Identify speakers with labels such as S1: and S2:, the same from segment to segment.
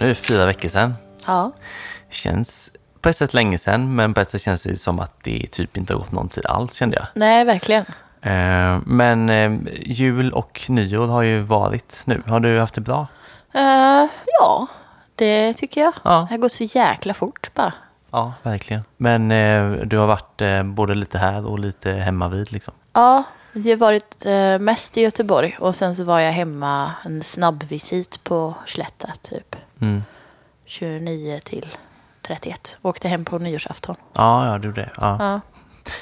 S1: Nu är det fyra veckor sedan.
S2: Ja.
S1: Känns på ett sätt länge sedan, men på ett sätt känns det som att det typ inte har gått någon tid alls, kände jag.
S2: Nej, verkligen.
S1: Eh, Men eh, jul och nyår har ju varit nu. Har du haft det bra?
S2: Eh, ja, det tycker jag.
S1: Ja.
S2: Det här går så jäkla fort bara.
S1: Ja, verkligen. Men eh, du har varit eh, både lite här och lite hemma vid liksom.
S2: Ja, vi har varit eh, mest i Göteborg och sen så var jag hemma en snabb visit på Slätta typ
S1: Mm.
S2: 29 till 31. Åkte hem på nyårsafton.
S1: Ja, ja, du det. Ja.
S2: Ja,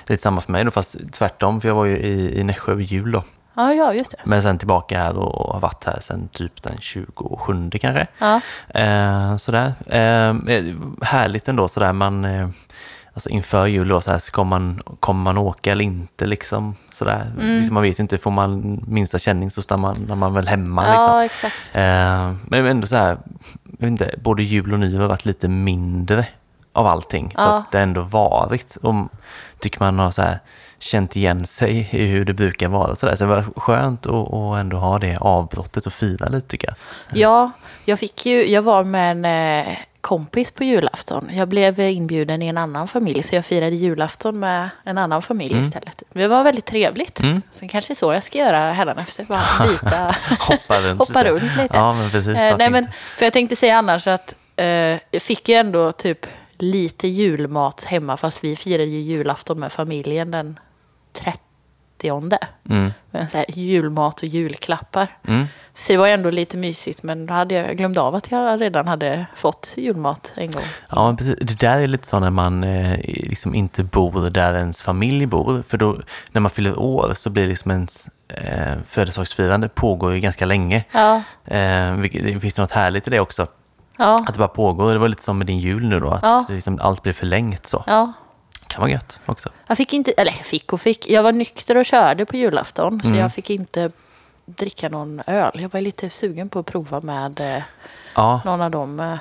S1: Lite samma för mig då, fast tvärtom. För jag var ju i, i Nässjö vid jul då.
S2: ja, ja just det.
S1: Men sen tillbaka här och, och har varit här sen typ den 27 kanske.
S2: Ja,
S1: Eh, sådär. Eh, härligt ändå sådär man, eh, alltså inför jul då, såhär, ska man, kommer man åka eller inte liksom? Sådär.
S2: Mm.
S1: Liksom, man vet inte, får man minsta känning så stannar man väl hemma liksom.
S2: ja exakt.
S1: Eh, men ändå så här, jag vet inte, både jul och nyår har varit lite mindre av allting.
S2: Ja.
S1: Fast det har ändå varit. Och tycker man har så här, känt igen sig i hur det brukar vara. Så, där. så det var skönt att att ändå ha det avbrottet och fira lite tycker jag.
S2: Ja, jag, fick ju, jag var med en eh, kompis på julafton. Jag blev inbjuden i en annan familj, så jag firade julafton med en annan familj istället. Men det var väldigt trevligt. Sen kanske det är så jag ska göra hädanefter, bara byta.
S1: Hoppa runt
S2: Hoppa
S1: lite.
S2: runt lite.
S1: Ja, men precis.
S2: Eh,
S1: varför
S2: nej, men,
S1: inte?
S2: för jag tänkte säga annars att eh, jag fick ju ändå typ lite julmat hemma, fast vi firade ju julafton med familjen den 30.
S1: Mm.
S2: Men så här, julmat och julklappar.
S1: Mm.
S2: Så det var ju ändå lite mysigt, men då hade jag glömt av att jag redan hade fått julmat en gång.
S1: Ja, men precis. Det där är lite så när man eh, liksom inte bor där ens familj bor. För då, när man fyller år så blir liksom ens eh, födelsedagsfirande pågår ju ganska länge.
S2: Ja,
S1: Eh, vilket, det finns något härligt i det också.
S2: ja,
S1: Att det bara pågår. Det var lite som med din jul nu då. Att
S2: Ja.
S1: det liksom allt blir förlängt så.
S2: ja.
S1: kan vara gött också.
S2: Jag fick inte, eller fick och fick, jag var nykter och körde på julafton,
S1: Mm.
S2: så jag fick inte dricka någon öl. Jag var lite sugen på att prova med eh,
S1: Ja,
S2: någon av dem eh,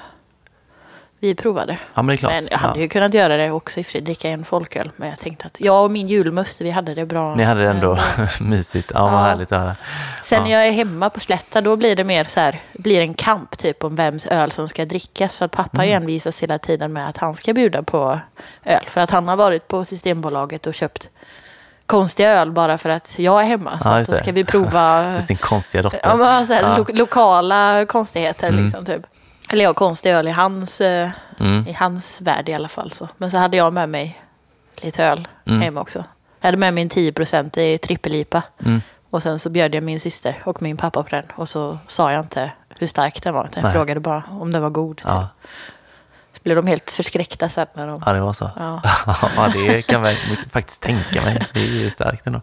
S2: vi provade.
S1: ja men det är klart.
S2: Men jag hade
S1: ja.
S2: ju kunnat göra det också i och för sig, dricka en folköl. Men jag tänkte att jag och min julmust, vi hade det bra.
S1: Ni hade det ändå mysigt. Ja, vad
S2: Ja.
S1: härligt att höra.
S2: Sen
S1: Ja.
S2: när jag är hemma på Slätta, då blir det mer så här, blir en kamp typ om vems öl som ska drickas. För att pappa
S1: Mm.
S2: envisas hela tiden med att han ska bjuda på öl. För att han har varit på Systembolaget och köpt konstiga öl bara för att jag är hemma. Så
S1: Ja,
S2: att
S1: just
S2: då
S1: det.
S2: ska vi prova
S1: Till sin konstiga dotter.
S2: ja, men, så här,
S1: Ja. Mm.
S2: lo lokala konstigheter liksom typ. Eller jag konstig öl i hans, eh,
S1: Mm.
S2: i hans värld i alla fall. Så. Men så hade jag med mig lite öl
S1: Mm.
S2: hem också. Jag hade med mig en 10% i trippelipa.
S1: Mm.
S2: Och sen så bjöd jag min syster och min pappa på den. Och så sa jag inte hur stark den var. Utan jag
S1: Nej.
S2: frågade bara om den var god. Typ.
S1: Ja.
S2: Så blev de helt förskräckta sen när de...
S1: ja, det var så.
S2: Ja.
S1: Ja, det kan jag faktiskt tänka mig. Det är ju starkt ändå.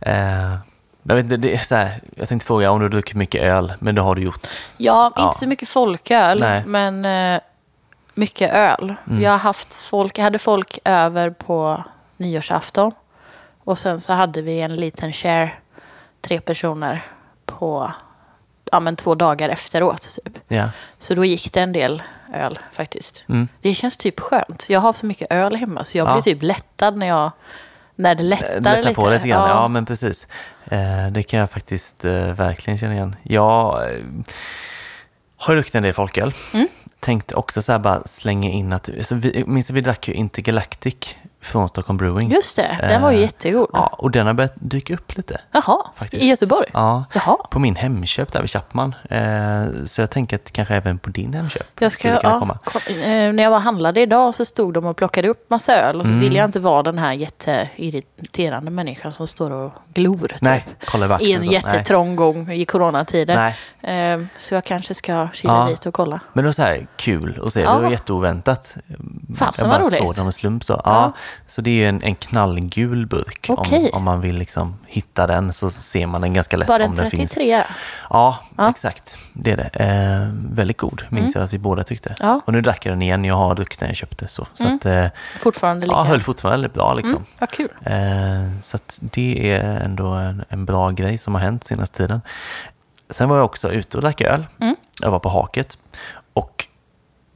S1: Eh, jag, vet inte, det är så här, jag tänkte fråga om du har druckit mycket öl, men det har du gjort.
S2: Ja, inte
S1: Ja.
S2: så mycket folköl,
S1: Nej. Mm.
S2: men eh, mycket öl. Jag, har haft folk, jag hade folk över på nyårsafton och sen så hade vi en liten share, tre personer, på ja, men två dagar efteråt. Typ.
S1: Ja.
S2: Så då gick det en del öl faktiskt.
S1: Mm.
S2: Det känns typ skönt. Jag har så mycket öl hemma så jag
S1: Ja.
S2: blir typ lättad när, jag, när det lättar
S1: lätta
S2: lite.
S1: på lite grann. Ja. men precis. Eh, det kan jag faktiskt eh, verkligen känna igen. Jag eh, har ju druckit en del folköl. Tänkte också så här bara slänga in att, alltså, vi, minns du, vi drack ju Intergalactic från Stockholm Brewing.
S2: Just det, den var ju
S1: Eh,
S2: jättegod.
S1: Ja, och den har börjat dyka upp lite.
S2: Jaha,
S1: Faktiskt.
S2: i Göteborg?
S1: Ja,
S2: Jaha.
S1: på min Hemköp där vid Chapman. Eh, så jag tänker att kanske även på din Hemköp
S2: Jag ska,
S1: skulle kunna
S2: ja,
S1: komma.
S2: kom, eh, när jag var och handlade idag så stod de och plockade upp massa öl och så
S1: Mm.
S2: ville jag inte vara den här jätteirriterande människan som står och glor typ,
S1: Nej, kolla över
S2: i
S1: axeln
S2: en
S1: så. Nej.
S2: jättetrång gång i coronatider.
S1: Nej.
S2: Eh, så jag kanske ska kila
S1: Ja.
S2: dit och kolla.
S1: Men det var så här kul att se.
S2: Ja.
S1: Det var jätteoväntat.
S2: Fasen,
S1: jag bara
S2: vad roligt.
S1: såg dem i slump så. Ja.
S2: Ja.
S1: Så det är ju en, en knallgul burk.
S2: Okej.
S1: Om, om man vill liksom hitta den så ser man den ganska lätt
S2: Var
S1: om
S2: den
S1: den finns.
S2: 33?
S1: Ja,
S2: Ja. Mm.
S1: exakt. Det är det. Eh, väldigt god, minns jag att vi båda tyckte.
S2: Ja. Mm.
S1: Och nu drack jag den igen. Jag har druckit den jag köpte. Så, så att, eh,
S2: Fortfarande lika?
S1: ja, höll fortfarande väldigt bra liksom.
S2: mm, vad kul.
S1: Eh, så att det är ändå en, en bra grej som har hänt senaste tiden. Sen var jag också ute och drack öl.
S2: Mm.
S1: Jag var på Haket. Och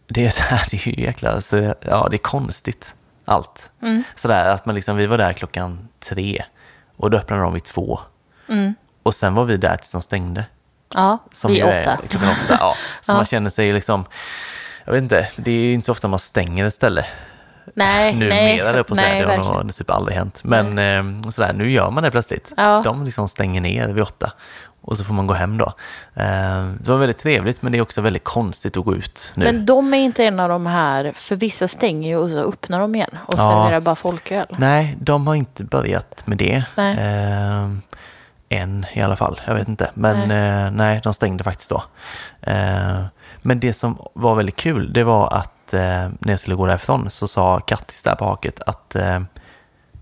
S1: det är så här, det är ju jäkla, alltså, ja det är konstigt allt.
S2: Mm.
S1: Sådär att man liksom, vi var där klockan tre och då öppnade de vid två. Och sen var vi där tills de stängde.
S2: Ja,
S1: Som
S2: Mm. vid
S1: ju
S2: åtta.
S1: Är klockan åtta. Ja. Så
S2: Ja.
S1: man känner sig ju liksom, jag vet inte, det är ju inte så ofta man stänger ett ställe
S2: Nej, nej.
S1: numera, nej, på nej,
S2: nej,
S1: det har
S2: verkligen.
S1: nog typ aldrig hänt. Men eh, sådär, nu gör man det plötsligt.
S2: Ja.
S1: De liksom stänger ner vid åtta och så får man gå hem då. Eh, det var väldigt trevligt, men det är också väldigt konstigt att gå ut nu.
S2: Men de är inte en av de här, för vissa stänger ju och så öppnar de igen och
S1: Ja.
S2: serverar bara folköl.
S1: Nej, de har inte börjat med det.
S2: Nej.
S1: Ehm, än i alla fall, jag vet inte. Men nej, eh, nej de stängde faktiskt då. Eh, men det som var väldigt kul, det var att eh, när jag skulle gå därifrån så sa Kattis där på haket att eh,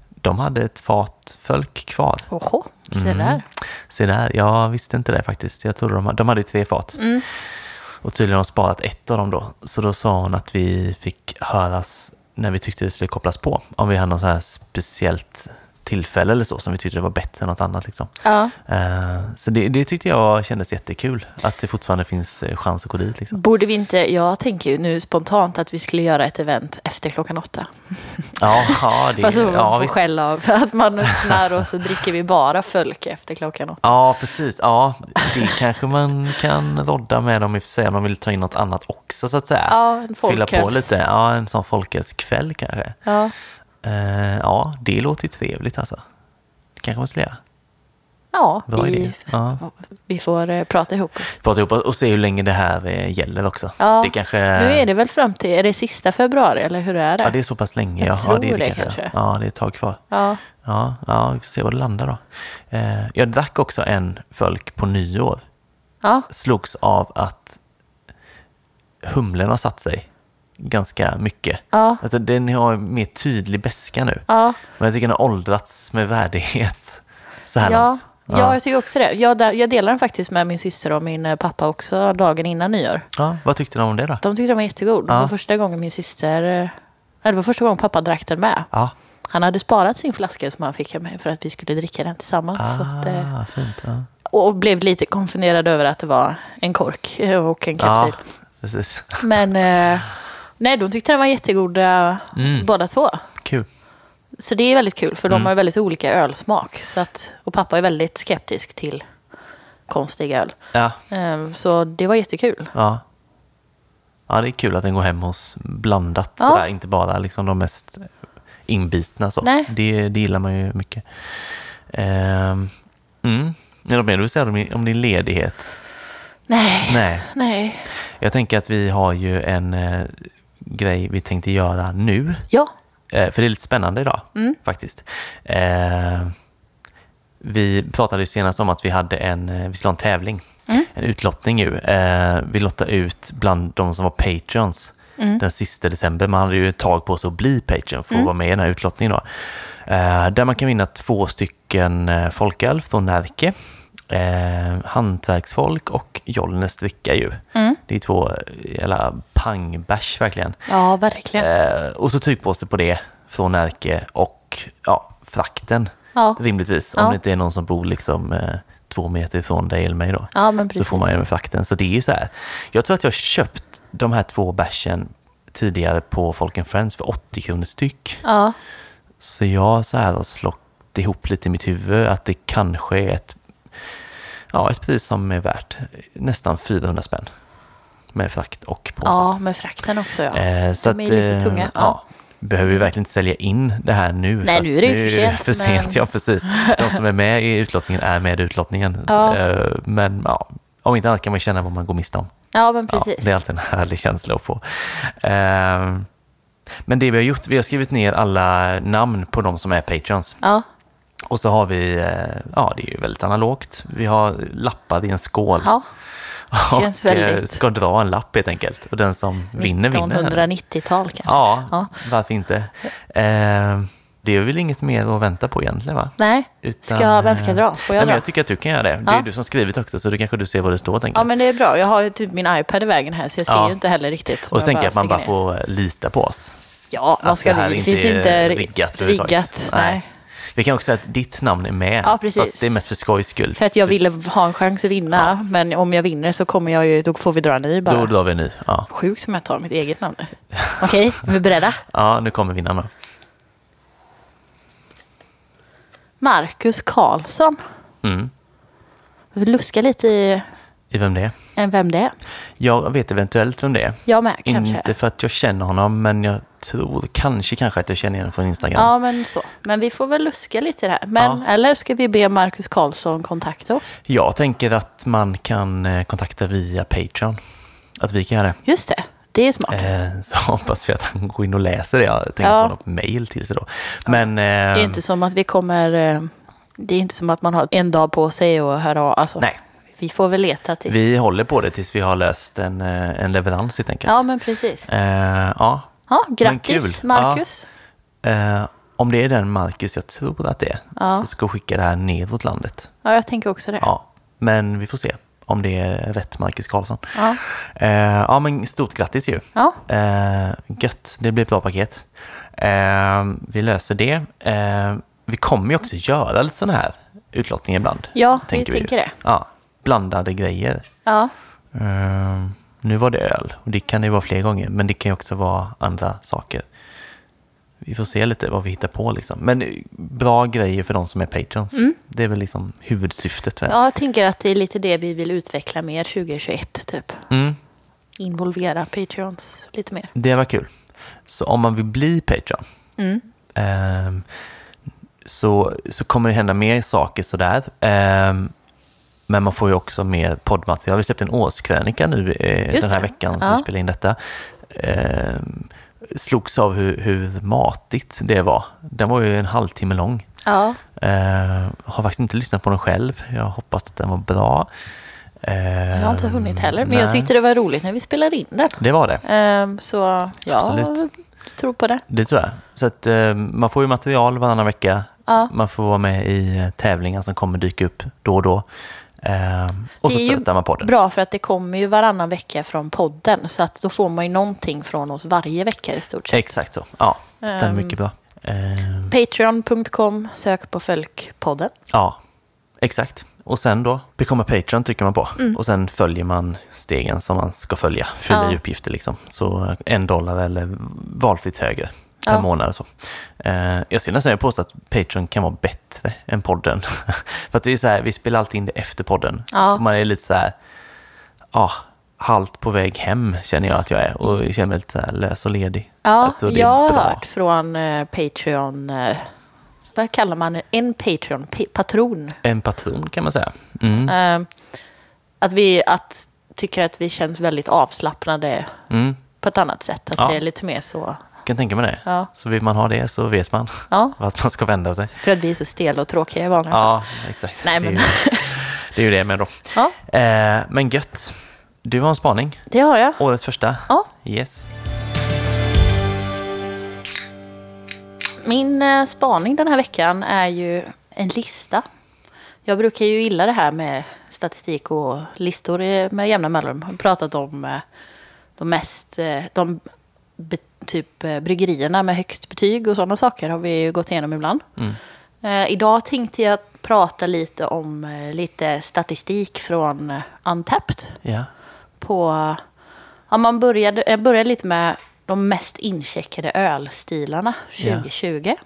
S1: de hade ett fat fölk kvar.
S2: Oho, se där.
S1: Mm. Se där, jag visste inte det faktiskt. Jag trodde de, hade- de hade ju tre fat.
S2: Mm.
S1: Och tydligen har de sparat ett av dem då. Så då sa hon att vi fick höras när vi tyckte det skulle kopplas på. Om vi hade något så här speciellt tillfälle eller så som vi tyckte det var bättre än något annat. Liksom.
S2: Ja.
S1: Eh, så det, det tyckte jag kändes jättekul. Att det fortfarande finns eh, chans att gå dit. Liksom.
S2: Borde vi inte, jag tänker ju nu spontant att vi skulle göra ett event efter klockan åtta.
S1: Ja, ja, det,
S2: Fast så man
S1: ja,
S2: får
S1: visst.
S2: skäll av för att man öppnar och så dricker vi bara fölk efter klockan åtta.
S1: Ja, precis. Ja, det kanske man kan rodda med dem i och för sig om man vill ta in något annat också så att säga.
S2: Ja, en
S1: Fylla på
S2: folköls.
S1: lite. Ja, en sån folkölskväll kanske.
S2: Ja.
S1: Eh, ja, det låter ju trevligt alltså. Det kanske man skulle göra.
S2: Ja,
S1: Bra idé.
S2: vi,
S1: Ja.
S2: vi får eh, prata ihop oss.
S1: Prata ihop och se hur länge det här eh, gäller också.
S2: Ja.
S1: Det kanske...
S2: Nu är det väl fram till, är det sista februari eller hur är det?
S1: Eh. Ja, det är så pass länge. Ja,
S2: Jag tror
S1: ja, det, är
S2: det
S1: kanske.
S2: kanske.
S1: Ja, det är ett tag kvar.
S2: Ja.
S1: Ja, ja, vi får se var det landar då. Eh, jag drack också en folk på nyår.
S2: Ja.
S1: slogs av att humlen har satt sig ganska mycket.
S2: Ja.
S1: Alltså, den har mer tydlig beska nu.
S2: Ja.
S1: Men jag tycker den har åldrats med värdighet så här
S2: Ja.
S1: långt.
S2: Ja. jag tycker också det. Jag, där- jag delar den faktiskt med min syster och min eh, pappa också dagen innan nyår.
S1: Ja, vad tyckte du om det då?
S2: De tyckte den var jättegod.
S1: Ja.
S2: Det var första gången min syster... eh, nej, Det var första gången pappa drack den med.
S1: Ja.
S2: Han hade sparat sin flaska som han fick av mig för att vi skulle dricka den tillsammans. Så att, eh,
S1: Ah, fint. Ja.
S2: och blev lite konfunderad över att det var en kork eh, och en kapsyl.
S1: ja, precis.
S2: Men eh, nej, de tyckte den var jättegod eh,
S1: Mm.
S2: båda två.
S1: Kul.
S2: Så det är väldigt kul för
S1: Mm.
S2: de har ju väldigt olika ölsmak. Så att, och pappa är väldigt skeptisk till konstig öl.
S1: Ja,
S2: Ehm, Så det var jättekul.
S1: ja. ja, det är kul att den går hem hos blandat.
S2: Ja.
S1: Sådär, inte bara liksom de mest inbitna. Så.
S2: Nej.
S1: Det, det gillar man ju mycket. Ehm, mm. Är det något mer du vill säga om din, om din ledighet?
S2: Nej, nej.
S1: Nej, jag tänker att vi har ju en eh, grej vi tänkte göra nu.
S2: Ja,
S1: Eh, för det är lite spännande idag, faktiskt. Eh, vi pratade ju senast om att vi hade en, eh, vi skulle ha en tävling. En utlottning ju. Eh, vi lottade ut bland de som var patreons den sista december. Man hade ju ett tag på sig att bli patreon för att vara med i den här utlottningen. Då. Eh, där man kan vinna två stycken eh, folköl från Närke. Eh, hantverksfolk och Jollnäs dricka ju. Det är två eh, jävla pangbärs verkligen.
S2: ja verkligen.
S1: Eh, och så tygpåse på det från Närke och ja, frakten
S2: Ja.
S1: rimligtvis. Om
S2: Ja.
S1: det inte är någon som bor liksom eh, två meter ifrån dig eller mig då.
S2: Ja,
S1: så
S2: men precis.
S1: får man ju med frakten. Så det är ju så här. Jag tror att jag har köpt de här två bärsen tidigare på Folk and Friends för 80 kronor styck.
S2: Ja,
S1: Så jag så här har slått ihop lite i mitt huvud att det kanske är ett, ja, ett pris som är värt nästan 400 spänn. Med frakt och påse.
S2: ja med frakten också ja.
S1: Eh, så
S2: De är lite
S1: eh,
S2: tunga,
S1: Ja.
S2: ja.
S1: Behöver vi verkligen inte sälja in det här nu? för
S2: nu
S1: att
S2: är det ju för sent,
S1: För sent
S2: men-
S1: Ja, precis. De som är med i utlottningen är med i utlottningen. Så,
S2: Ja.
S1: eh, Men ja, om inte annat kan man känna vad man går miste om.
S2: Ja, men
S1: Ja,
S2: precis.
S1: det är alltid en härlig känsla att få. Eh, Men det vi har gjort, vi har skrivit ner alla namn på de som är patreons.
S2: Ja.
S1: Och så har vi, eh, ja det är ju väldigt analogt, vi har lappar i en skål.
S2: ja.
S1: och
S2: känns
S1: eh,
S2: väldigt-
S1: ska dra en lapp helt enkelt. Och den som vinner vinner.
S2: 1990-tal kanske.
S1: Ja,
S2: Ja.
S1: varför inte? Eh, det är väl inget mer att vänta på egentligen va?
S2: Nej,
S1: Utan,
S2: ska, vem
S1: eh,
S2: ska dra? Får
S1: nej,
S2: jag
S1: men
S2: dra?
S1: jag tycker att du kan göra det. Det är
S2: Ja.
S1: ju du som skrivit också så du kanske du ser vad det står. Tänker.
S2: Ja,
S1: jag.
S2: men det är bra. Jag har ju typ min iPad i vägen här så jag ser
S1: Ja.
S2: ju inte heller riktigt.
S1: och så tänker jag att man
S2: sticker
S1: bara
S2: ner.
S1: får eh, lita på oss.
S2: Ja,
S1: Att
S2: man ska
S1: det här
S2: det, det finns inte
S1: är
S2: riggat.
S1: överhuvudtaget.
S2: riggat nej.
S1: Vi kan också säga att ditt namn är med.
S2: Ja, precis.
S1: Fast det är mest för skojs skull.
S2: För att jag ville ha en chans att vinna, men om jag vinner så kommer jag ju, då får vi dra en ny bara.
S1: Då drar vi nu. Ja.
S2: Sjukt som jag tar mitt eget namn nu. Okej, är vi beredda?
S1: ja, nu kommer vinnaren då.
S2: Marcus Karlsson.
S1: Mm.
S2: Vi luskar lite i
S1: i vem det är.
S2: Än vem det är.
S1: Jag vet eventuellt vem det är.
S2: Jag med kanske.
S1: Inte för att jag känner honom, men jag tror kanske, kanske att jag känner igen från Instagram.
S2: Ja, men så. Men vi får väl luska lite i det här. Men, Eller ska vi be Marcus Karlsson kontakta oss?
S1: Jag tänker att man kan eh, kontakta via Patreon. Att vi kan göra det.
S2: Just det, det är smart.
S1: Eh, Så hoppas vi att han går in och läser det. Jag tänker
S2: Ja.
S1: få något mejl till sig då. Men eh,
S2: det är inte som att vi kommer... eh, Det är inte som att man har en dag på sig och höra av. Alltså,
S1: Nej.
S2: Vi får väl leta tills...
S1: vi håller på det tills vi har löst en, eh, en leverans helt enkelt.
S2: Ja, men precis.
S1: Eh, ja.
S2: Ja,
S1: Men
S2: grattis
S1: kul.
S2: Marcus.
S1: Eh, om det är den Marcus jag tror att det är,
S2: Ja.
S1: så ska jag skicka det här nedåt landet.
S2: Ja. jag tänker också det.
S1: Ja, men vi får se om det är rätt Marcus Karlsson.
S2: Ja.
S1: Eh, ja, men stort grattis ju.
S2: Ja.
S1: Eh, gött, det blir ett bra paket. Eh, vi löser det. Eh, vi kommer ju också göra lite sådana här utlottningar ibland.
S2: Ja, vi tänker
S1: ju.
S2: det.
S1: Ja, blandade grejer.
S2: Ja.
S1: Eh, nu var det öl och det kan det ju vara fler gånger, men det kan ju också vara andra saker. Vi får se lite vad vi hittar på liksom. Men eh, bra grejer för de som är patrons. Det är väl liksom huvudsyftet med det.
S2: Mm. ja, jag tänker att det är lite det vi vill utveckla mer 2021, typ.
S1: Mm,
S2: Involvera Patreons lite mer.
S1: det var kul. Så om man vill bli Patreon
S2: Mm.
S1: ehm, så, så kommer det hända mer saker sådär. Ehm, men man får ju också mer poddmaterial. Vi släppte en årskrönika nu eh,
S2: Just
S1: den här
S2: det.
S1: veckan som
S2: Ja.
S1: vi spelade in detta. Ehm, slogs av hur, hur matigt det var. Den var ju en halvtimme lång.
S2: Ja,
S1: Ehm, har faktiskt inte lyssnat på den själv. Jag hoppas att den var bra.
S2: jag har inte
S1: Ehm,
S2: hunnit heller. Men jag
S1: nej.
S2: tyckte det var roligt när vi spelade in den.
S1: Det var det.
S2: Ehm, så ja,
S1: Absolut.
S2: tror på det.
S1: Det tror jag. Så att eh, man får ju material varannan vecka.
S2: Ja.
S1: Man får vara med i eh, tävlingar som kommer dyka upp då och då. Eh, och så
S2: det är ju
S1: stöttar man podden.
S2: bra för att det kommer ju varannan vecka från podden. Så att då får man ju någonting från oss varje vecka i stort sett.
S1: Exakt så. Ja, stämmer
S2: Ehm.
S1: mycket bra. Eh,
S2: Patreon.com, sök på Fölkpodden.
S1: ja, exakt. Och sen då, bekomma Patreon tycker man på.
S2: Mm.
S1: Och sen följer man stegen som man ska följa. Fylla
S2: Ja.
S1: i uppgifter liksom. Så en dollar eller valfritt högre per
S2: Ja.
S1: månad. och Så. Eh, jag skulle nästan vilja påstå att Patreon kan vara bättre än podden. För att det är så här, vi spelar alltid in det efter podden.
S2: Ja.
S1: Man är lite så här, ja, halt på väg hem känner jag att jag är. Och jag känner mig lite så här lös och ledig.
S2: Ja,
S1: Alltså, det är
S2: jag har
S1: bra.
S2: hört från eh, Patreon, eh, vad kallar man det? en Patreon, pa- patron,
S1: En patron kan man säga. Mm.
S2: eh, att vi att, tycker att vi känns väldigt avslappnade
S1: Mm.
S2: på ett annat sätt. Att
S1: Ja.
S2: det är lite mer så,
S1: kan tänka mig det.
S2: Ja.
S1: Så vill man ha det så vet man
S2: ja,
S1: vart man ska vända sig.
S2: för att vi är så stela och tråkiga i vanliga fall.
S1: Ja, exakt.
S2: Nej,
S1: det, är
S2: men-
S1: ju, det är ju det med då.
S2: Ja,
S1: Eh, men gött. Du har en spaning.
S2: det har jag.
S1: Årets första.
S2: Ja.
S1: Yes.
S2: Min eh, spaning den här veckan är ju en lista. Jag brukar ju gilla det här med statistik och listor eh, med jämna mellanrum. Jag har pratat om eh, de mest, eh, de be, typ eh, bryggerierna med högst betyg och sådana saker har vi ju gått igenom ibland. Eh, Idag tänkte jag prata lite om eh, lite statistik från eh, Untapped
S1: Ja.
S2: på... Ja, man började, jag började lite med de mest incheckade ölstilarna 2020.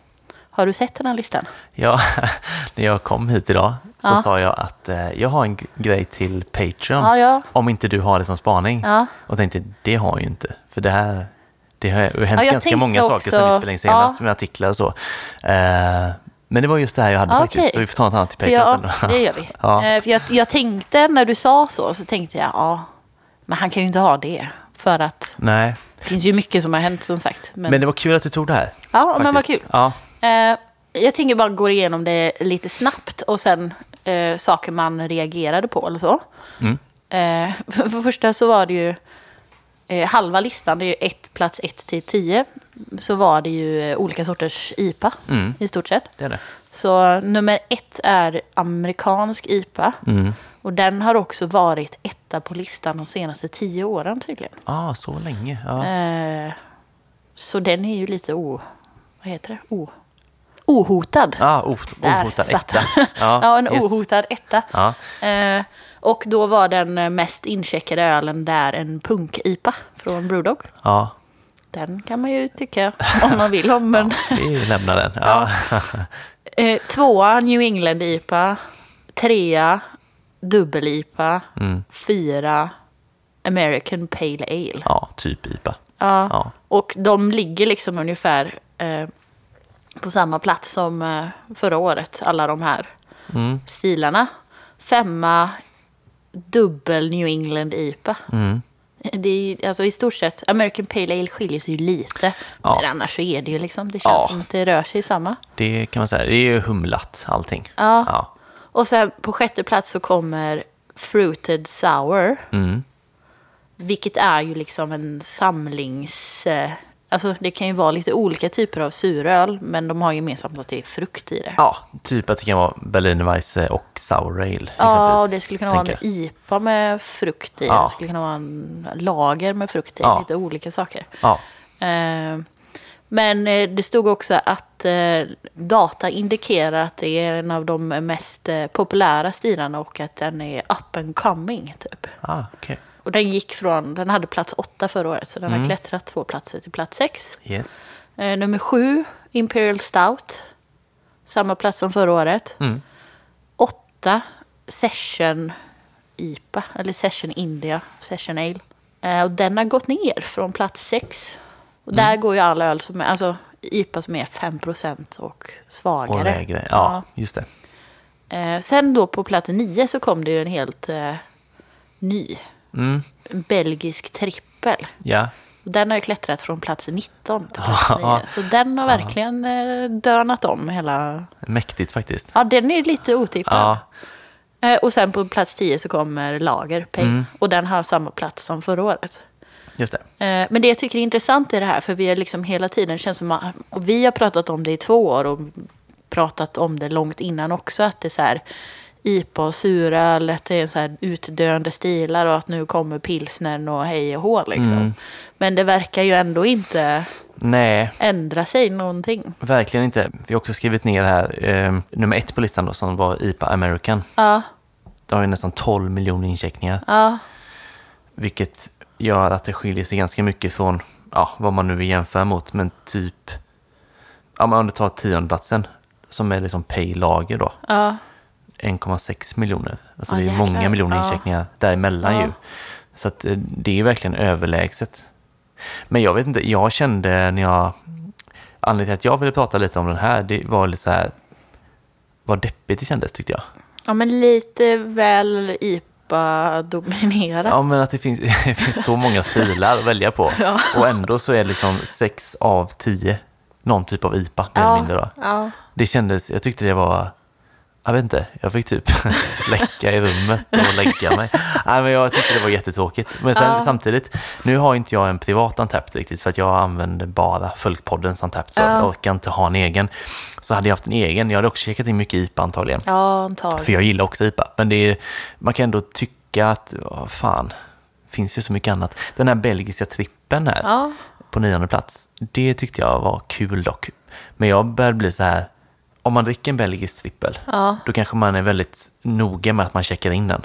S2: Har du sett den här listan?
S1: Ja, när jag kom hit idag så
S2: Ja.
S1: sa jag att eh, jag har en g- grej till Patreon.
S2: Ja, ja.
S1: Om inte du har det som spaning.
S2: Ja.
S1: Och tänkte, det har jag ju inte. För det här, det har ju hänt
S2: jag
S1: ganska
S2: tänkte
S1: många saker
S2: också-
S1: som vi spelade in senast
S2: ja.
S1: med artiklar och så. Eh, men det var just det här jag hade
S2: Ja,
S1: faktiskt.
S2: okej.
S1: Så vi får ta något annat till
S2: För
S1: Patreon
S2: jag,
S1: sen.
S2: det gör vi.
S1: ja.
S2: Eh, För jag, jag tänkte när du sa så, så tänkte jag ja, men han kan ju inte ha det. För att
S1: Nej,
S2: det finns ju mycket som har hänt som sagt. Men,
S1: men det var kul att du tog det här.
S2: ja, men vad
S1: faktiskt.
S2: kul.
S1: Ja.
S2: Eh, jag tänker bara gå igenom det lite snabbt och sen eh, saker man reagerade på eller så. Eh, för för första så var det ju eh, halva listan, det är ju ett, plats 1 till 10, så var det ju eh, olika sorters IPA i stort sett.
S1: Det är det.
S2: Så nummer ett är amerikansk IPA. Och den har också varit etta på listan de senaste tio åren tydligen.
S1: Ja, ah, så länge. Ja.
S2: Eh, så den är ju lite o... Vad heter det? O, ohotad.
S1: Ah, o- ohotad
S2: satt
S1: etta.
S2: den. Ja, en
S1: yes.
S2: ohotad etta.
S1: Ja.
S2: Eh, och då var den eh, mest incheckade ölen där en punk-IPA från Brewdog.
S1: Ja,
S2: Den kan man ju tycka om man vill om, men...
S1: vi lämnar den. Ja.
S2: Eh, tvåa New England IPA. Trea dubbel-IPA,
S1: Mm.
S2: fyra American Pale Ale.
S1: Ja, typ IPA.
S2: Ja.
S1: Ja.
S2: Och de ligger liksom ungefär eh, på samma plats som eh, förra året, alla de här
S1: Mm.
S2: stilarna. Femma, dubbel New England IPA.
S1: Mm.
S2: Det är ju, alltså i stort sett, American Pale Ale skiljer sig ju lite.
S1: Ja.
S2: Men annars så är det ju liksom, det känns
S1: Ja.
S2: som att det rör sig i samma.
S1: Det kan man säga. Det är ju humlat allting.
S2: Ja.
S1: Ja.
S2: Och sen på sjätte plats så kommer Fruited Sour.
S1: Mm.
S2: Vilket är ju liksom en samlings... eh, Alltså det kan ju vara lite olika typer av suröl, men de har gemensamt att det är frukt i det.
S1: ja, typ att det kan vara Berlinerweisse och Sour Ale. exempelvis,
S2: Ja, och det skulle kunna vara en
S1: tänker jag.
S2: IPA med frukt i.
S1: Ja.
S2: Det skulle kunna vara en lager med frukt i.
S1: Ja.
S2: Lite olika saker.
S1: Ja.
S2: Eh, Men eh, det stod också att eh, data indikerar att det är en av de mest eh, populära stilarna och att den är up and coming. Typ.
S1: Ah, okej.
S2: Och den gick från, den hade plats åtta förra året, så den har klättrat två platser till plats sex.
S1: Yes.
S2: Eh, nummer sju, Imperial Stout. Samma plats som förra året.
S1: Mm.
S2: Åtta, Session IPA, eller Session India, Session Ale. Eh, och den har gått ner från plats sex. Och
S1: Mm.
S2: där går ju alla öl som är, alltså IPA som är 5% och svagare.
S1: Och lägre. Ja, just det.
S2: Ja. Eh, sen då på plats nio så kom det ju en helt eh, ny.
S1: Mm.
S2: En belgisk trippel.
S1: Ja.
S2: Och Den har ju klättrat från plats 19 till plats 9. Så den har verkligen eh, dönat om hela...
S1: Mäktigt faktiskt.
S2: Ja, den är lite otippad.
S1: Ja.
S2: Eh, Och sen på plats 10 så kommer Lager, Pale. Och den har samma plats som förra året.
S1: Just det.
S2: Eh, Men det jag tycker är intressant i det här, för vi har liksom hela tiden känns som att, och vi har pratat om det i två år och pratat om det långt innan också, att det är så här IPA och suröl, att det är så här utdöende stilar och att nu kommer pilsnern och hej och hå liksom. Men det verkar ju ändå inte
S1: Nej,
S2: ändra sig någonting.
S1: verkligen inte. Vi har också skrivit ner här, eh, nummer ett på listan då, som var IPA American.
S2: Ja,
S1: Det har ju nästan 12 miljoner incheckningar,
S2: ja,
S1: vilket gör att det skiljer sig ganska mycket från ja, vad man nu vill jämföra mot. Men typ, ja, men om du tar tiondeplatsen, som är liksom pay lager då,
S2: ja,
S1: 1,6 miljoner. Alltså
S2: Ja,
S1: det är
S2: jäklar.
S1: många miljoner
S2: Ja.
S1: incheckningar däremellan
S2: Ja.
S1: ju. Så att eh, det är ju verkligen överlägset. Men jag vet inte, jag kände när jag... Anledningen till att jag ville prata lite om den här, det var lite så här... Vad deppigt det kändes tyckte jag.
S2: ja, men lite väl IPA-dominerat.
S1: Ja, men att det finns, det finns så många stilar att välja på. Och ändå så är det liksom sex av tio någon typ av IPA, mer eller mindre. Då.
S2: ja.
S1: Det kändes, jag tyckte det var, jag vet inte, jag fick typ släcka i rummet och lägga mig. Nej, men jag tyckte det var jättetråkigt. Men sen,
S2: Ja.
S1: samtidigt, nu har inte jag en privat Antapped riktigt för att jag använder bara Folkpoddens Antapped så jag orkar inte ha en egen. Så hade jag haft en egen, jag hade också checkat in mycket IPA antagligen.
S2: Ja,
S1: För
S2: antagligen.
S1: jag gillar också IPA, men det är, man kan ändå tycka att, åh, fan, finns ju så mycket annat. Den här belgiska trippen här
S2: Ja.
S1: på nionde plats. Det tyckte jag var kul dock. Men jag börjar bli så här, om man dricker en belgisk trippel,
S2: Ja.
S1: då kanske man är väldigt noga med att man checkar in den.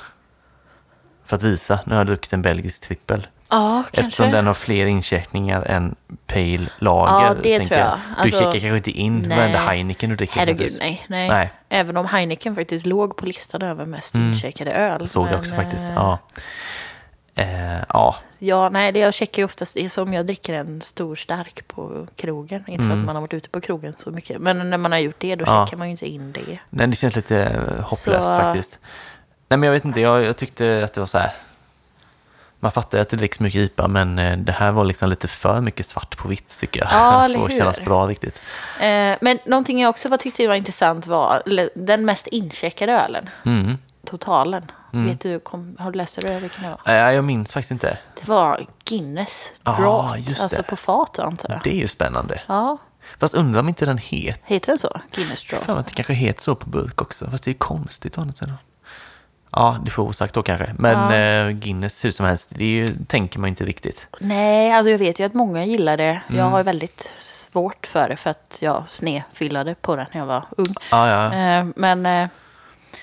S1: För att visa, nu har jag druckit en belgisk trippel.
S2: Ja, kanske.
S1: Eftersom den har fler incheckningar än pale lager.
S2: Ja, det
S1: tänker
S2: tror jag. Alltså,
S1: du checkar kanske inte in
S2: nej.
S1: varenda Heineken du dricker.
S2: Herregud,
S1: exempelvis.
S2: nej, nej.
S1: Nej.
S2: Även om Heineken faktiskt låg på listan över mest incheckade öl.
S1: Det såg
S2: men,
S1: jag också faktiskt.
S2: eh,
S1: Ja. Eh, ja,
S2: Ja, nej, det jag checkar ju oftast är som jag dricker en stor stark på krogen. Inte för att man har varit ute på krogen så mycket. Men när man har gjort det, då
S1: Mm. Ja.
S2: checkar man ju inte in det.
S1: Nej, det känns lite eh, hopplöst
S2: Så-
S1: faktiskt. Nej, men jag vet inte. Jag, jag tyckte att det var så här. Man fattar ju att det dricks mycket IPA, men eh, det här var liksom lite för mycket svart på vitt tycker jag.
S2: Ja, eller
S1: För att
S2: hur?
S1: kännas bra riktigt.
S2: Eh, men någonting jag också var, tyckte var intressant var eller, den mest incheckade ölen.
S1: Mm.
S2: Totalen. Vet du, kom, har du läst det? Vilken det var?
S1: Eh, Jag minns faktiskt inte.
S2: Det var Guinness
S1: Ah,
S2: Draught.
S1: just det.
S2: alltså på fat antar jag.
S1: Det är ju spännande.
S2: Ja,
S1: Fast undrar om inte den heter...
S2: heter den så? Guinness Draught.
S1: Fan, att det kanske heter så på burk också. Fast det är ju konstigt å andra sidan. Ja, det får vara osagt då kanske. Men eh, Guinness hur som helst, det är ju, tänker man ju inte riktigt.
S2: Nej, alltså jag vet ju att många gillar det. Jag
S1: Mm.
S2: har ju väldigt svårt för det för att jag snefyllade på den när jag var ung.
S1: Ja, ja.
S2: Eh, Men eh,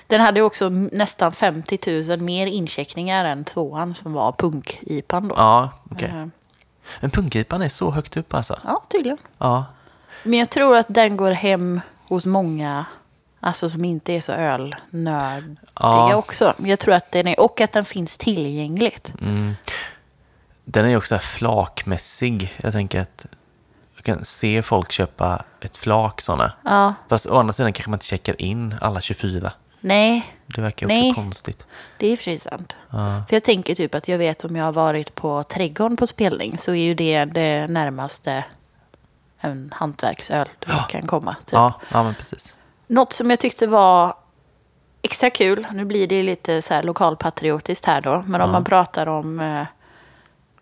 S2: den hade ju också nästan 50 000 mer incheckningar än tvåan som var punk-IPan då.
S1: Ja, Ah, okej.
S2: Eh,
S1: Men punkipan är så högt upp alltså.
S2: ja, tydligen.
S1: Ja,
S2: Men jag tror att den går hem hos många Alltså som inte är så ölnördiga
S1: Ja.
S2: också. Jag tror att den är, och att den finns tillgängligt.
S1: Mm. Den är ju också så här flakmässig. Jag tänker att jag kan se folk köpa ett flak sådana.
S2: Ja.
S1: Fast å andra sidan kanske man inte checkar in alla 24.
S2: Nej,
S1: Det verkar ju också
S2: Nej. Typ.
S1: konstigt.
S2: det är i och för sig sant.
S1: Ja.
S2: För jag tänker typ att jag vet om jag har varit på trädgården på spelning så är ju det det närmaste en hantverksöl du kan komma. Typ.
S1: Ja, ja, men precis.
S2: Något som jag tyckte var extra kul, nu blir det lite så här lokalpatriotiskt här då, men om man pratar om eh,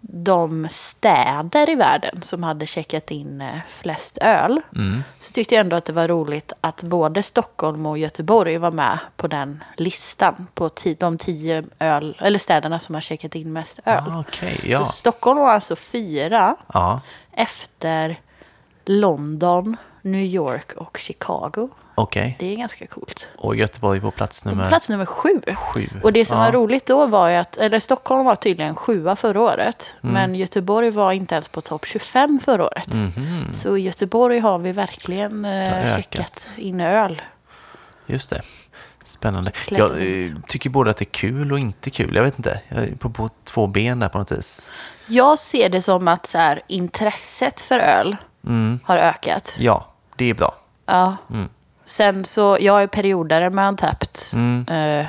S2: de städer i världen som hade checkat in eh, flest öl,
S1: Mm.
S2: så tyckte jag ändå att det var roligt att både Stockholm och Göteborg var med på den listan på ti- de tio öl, eller städerna som har checkat in mest öl.
S1: Ah, Okej,
S2: Så
S1: ja.
S2: Stockholm var alltså fyra
S1: ja.
S2: efter London, New York och Chicago.
S1: Okej.
S2: Det är ganska coolt.
S1: Och Göteborg på plats nummer...
S2: Plats nummer sju.
S1: Sju,
S2: Och det som
S1: ja.
S2: var roligt då var ju att, eller Stockholm var tydligen sjua förra året,
S1: Mm.
S2: men Göteborg var inte ens på topp 25 förra året. Så i Göteborg har vi verkligen
S1: Mhm. har
S2: eh,
S1: ökat.
S2: checkat in öl.
S1: Just det. Spännande.
S2: Klättrat
S1: Jag eh, tycker både att det är kul och inte kul. Jag vet inte. Jag är på, på två ben där på något vis.
S2: Jag ser det som att så här, intresset för öl
S1: Mm.
S2: har ökat.
S1: Ja, det är bra.
S2: Ja.
S1: Mm.
S2: Sen så, jag är periodare med Untapped.
S1: Mm.
S2: Eh,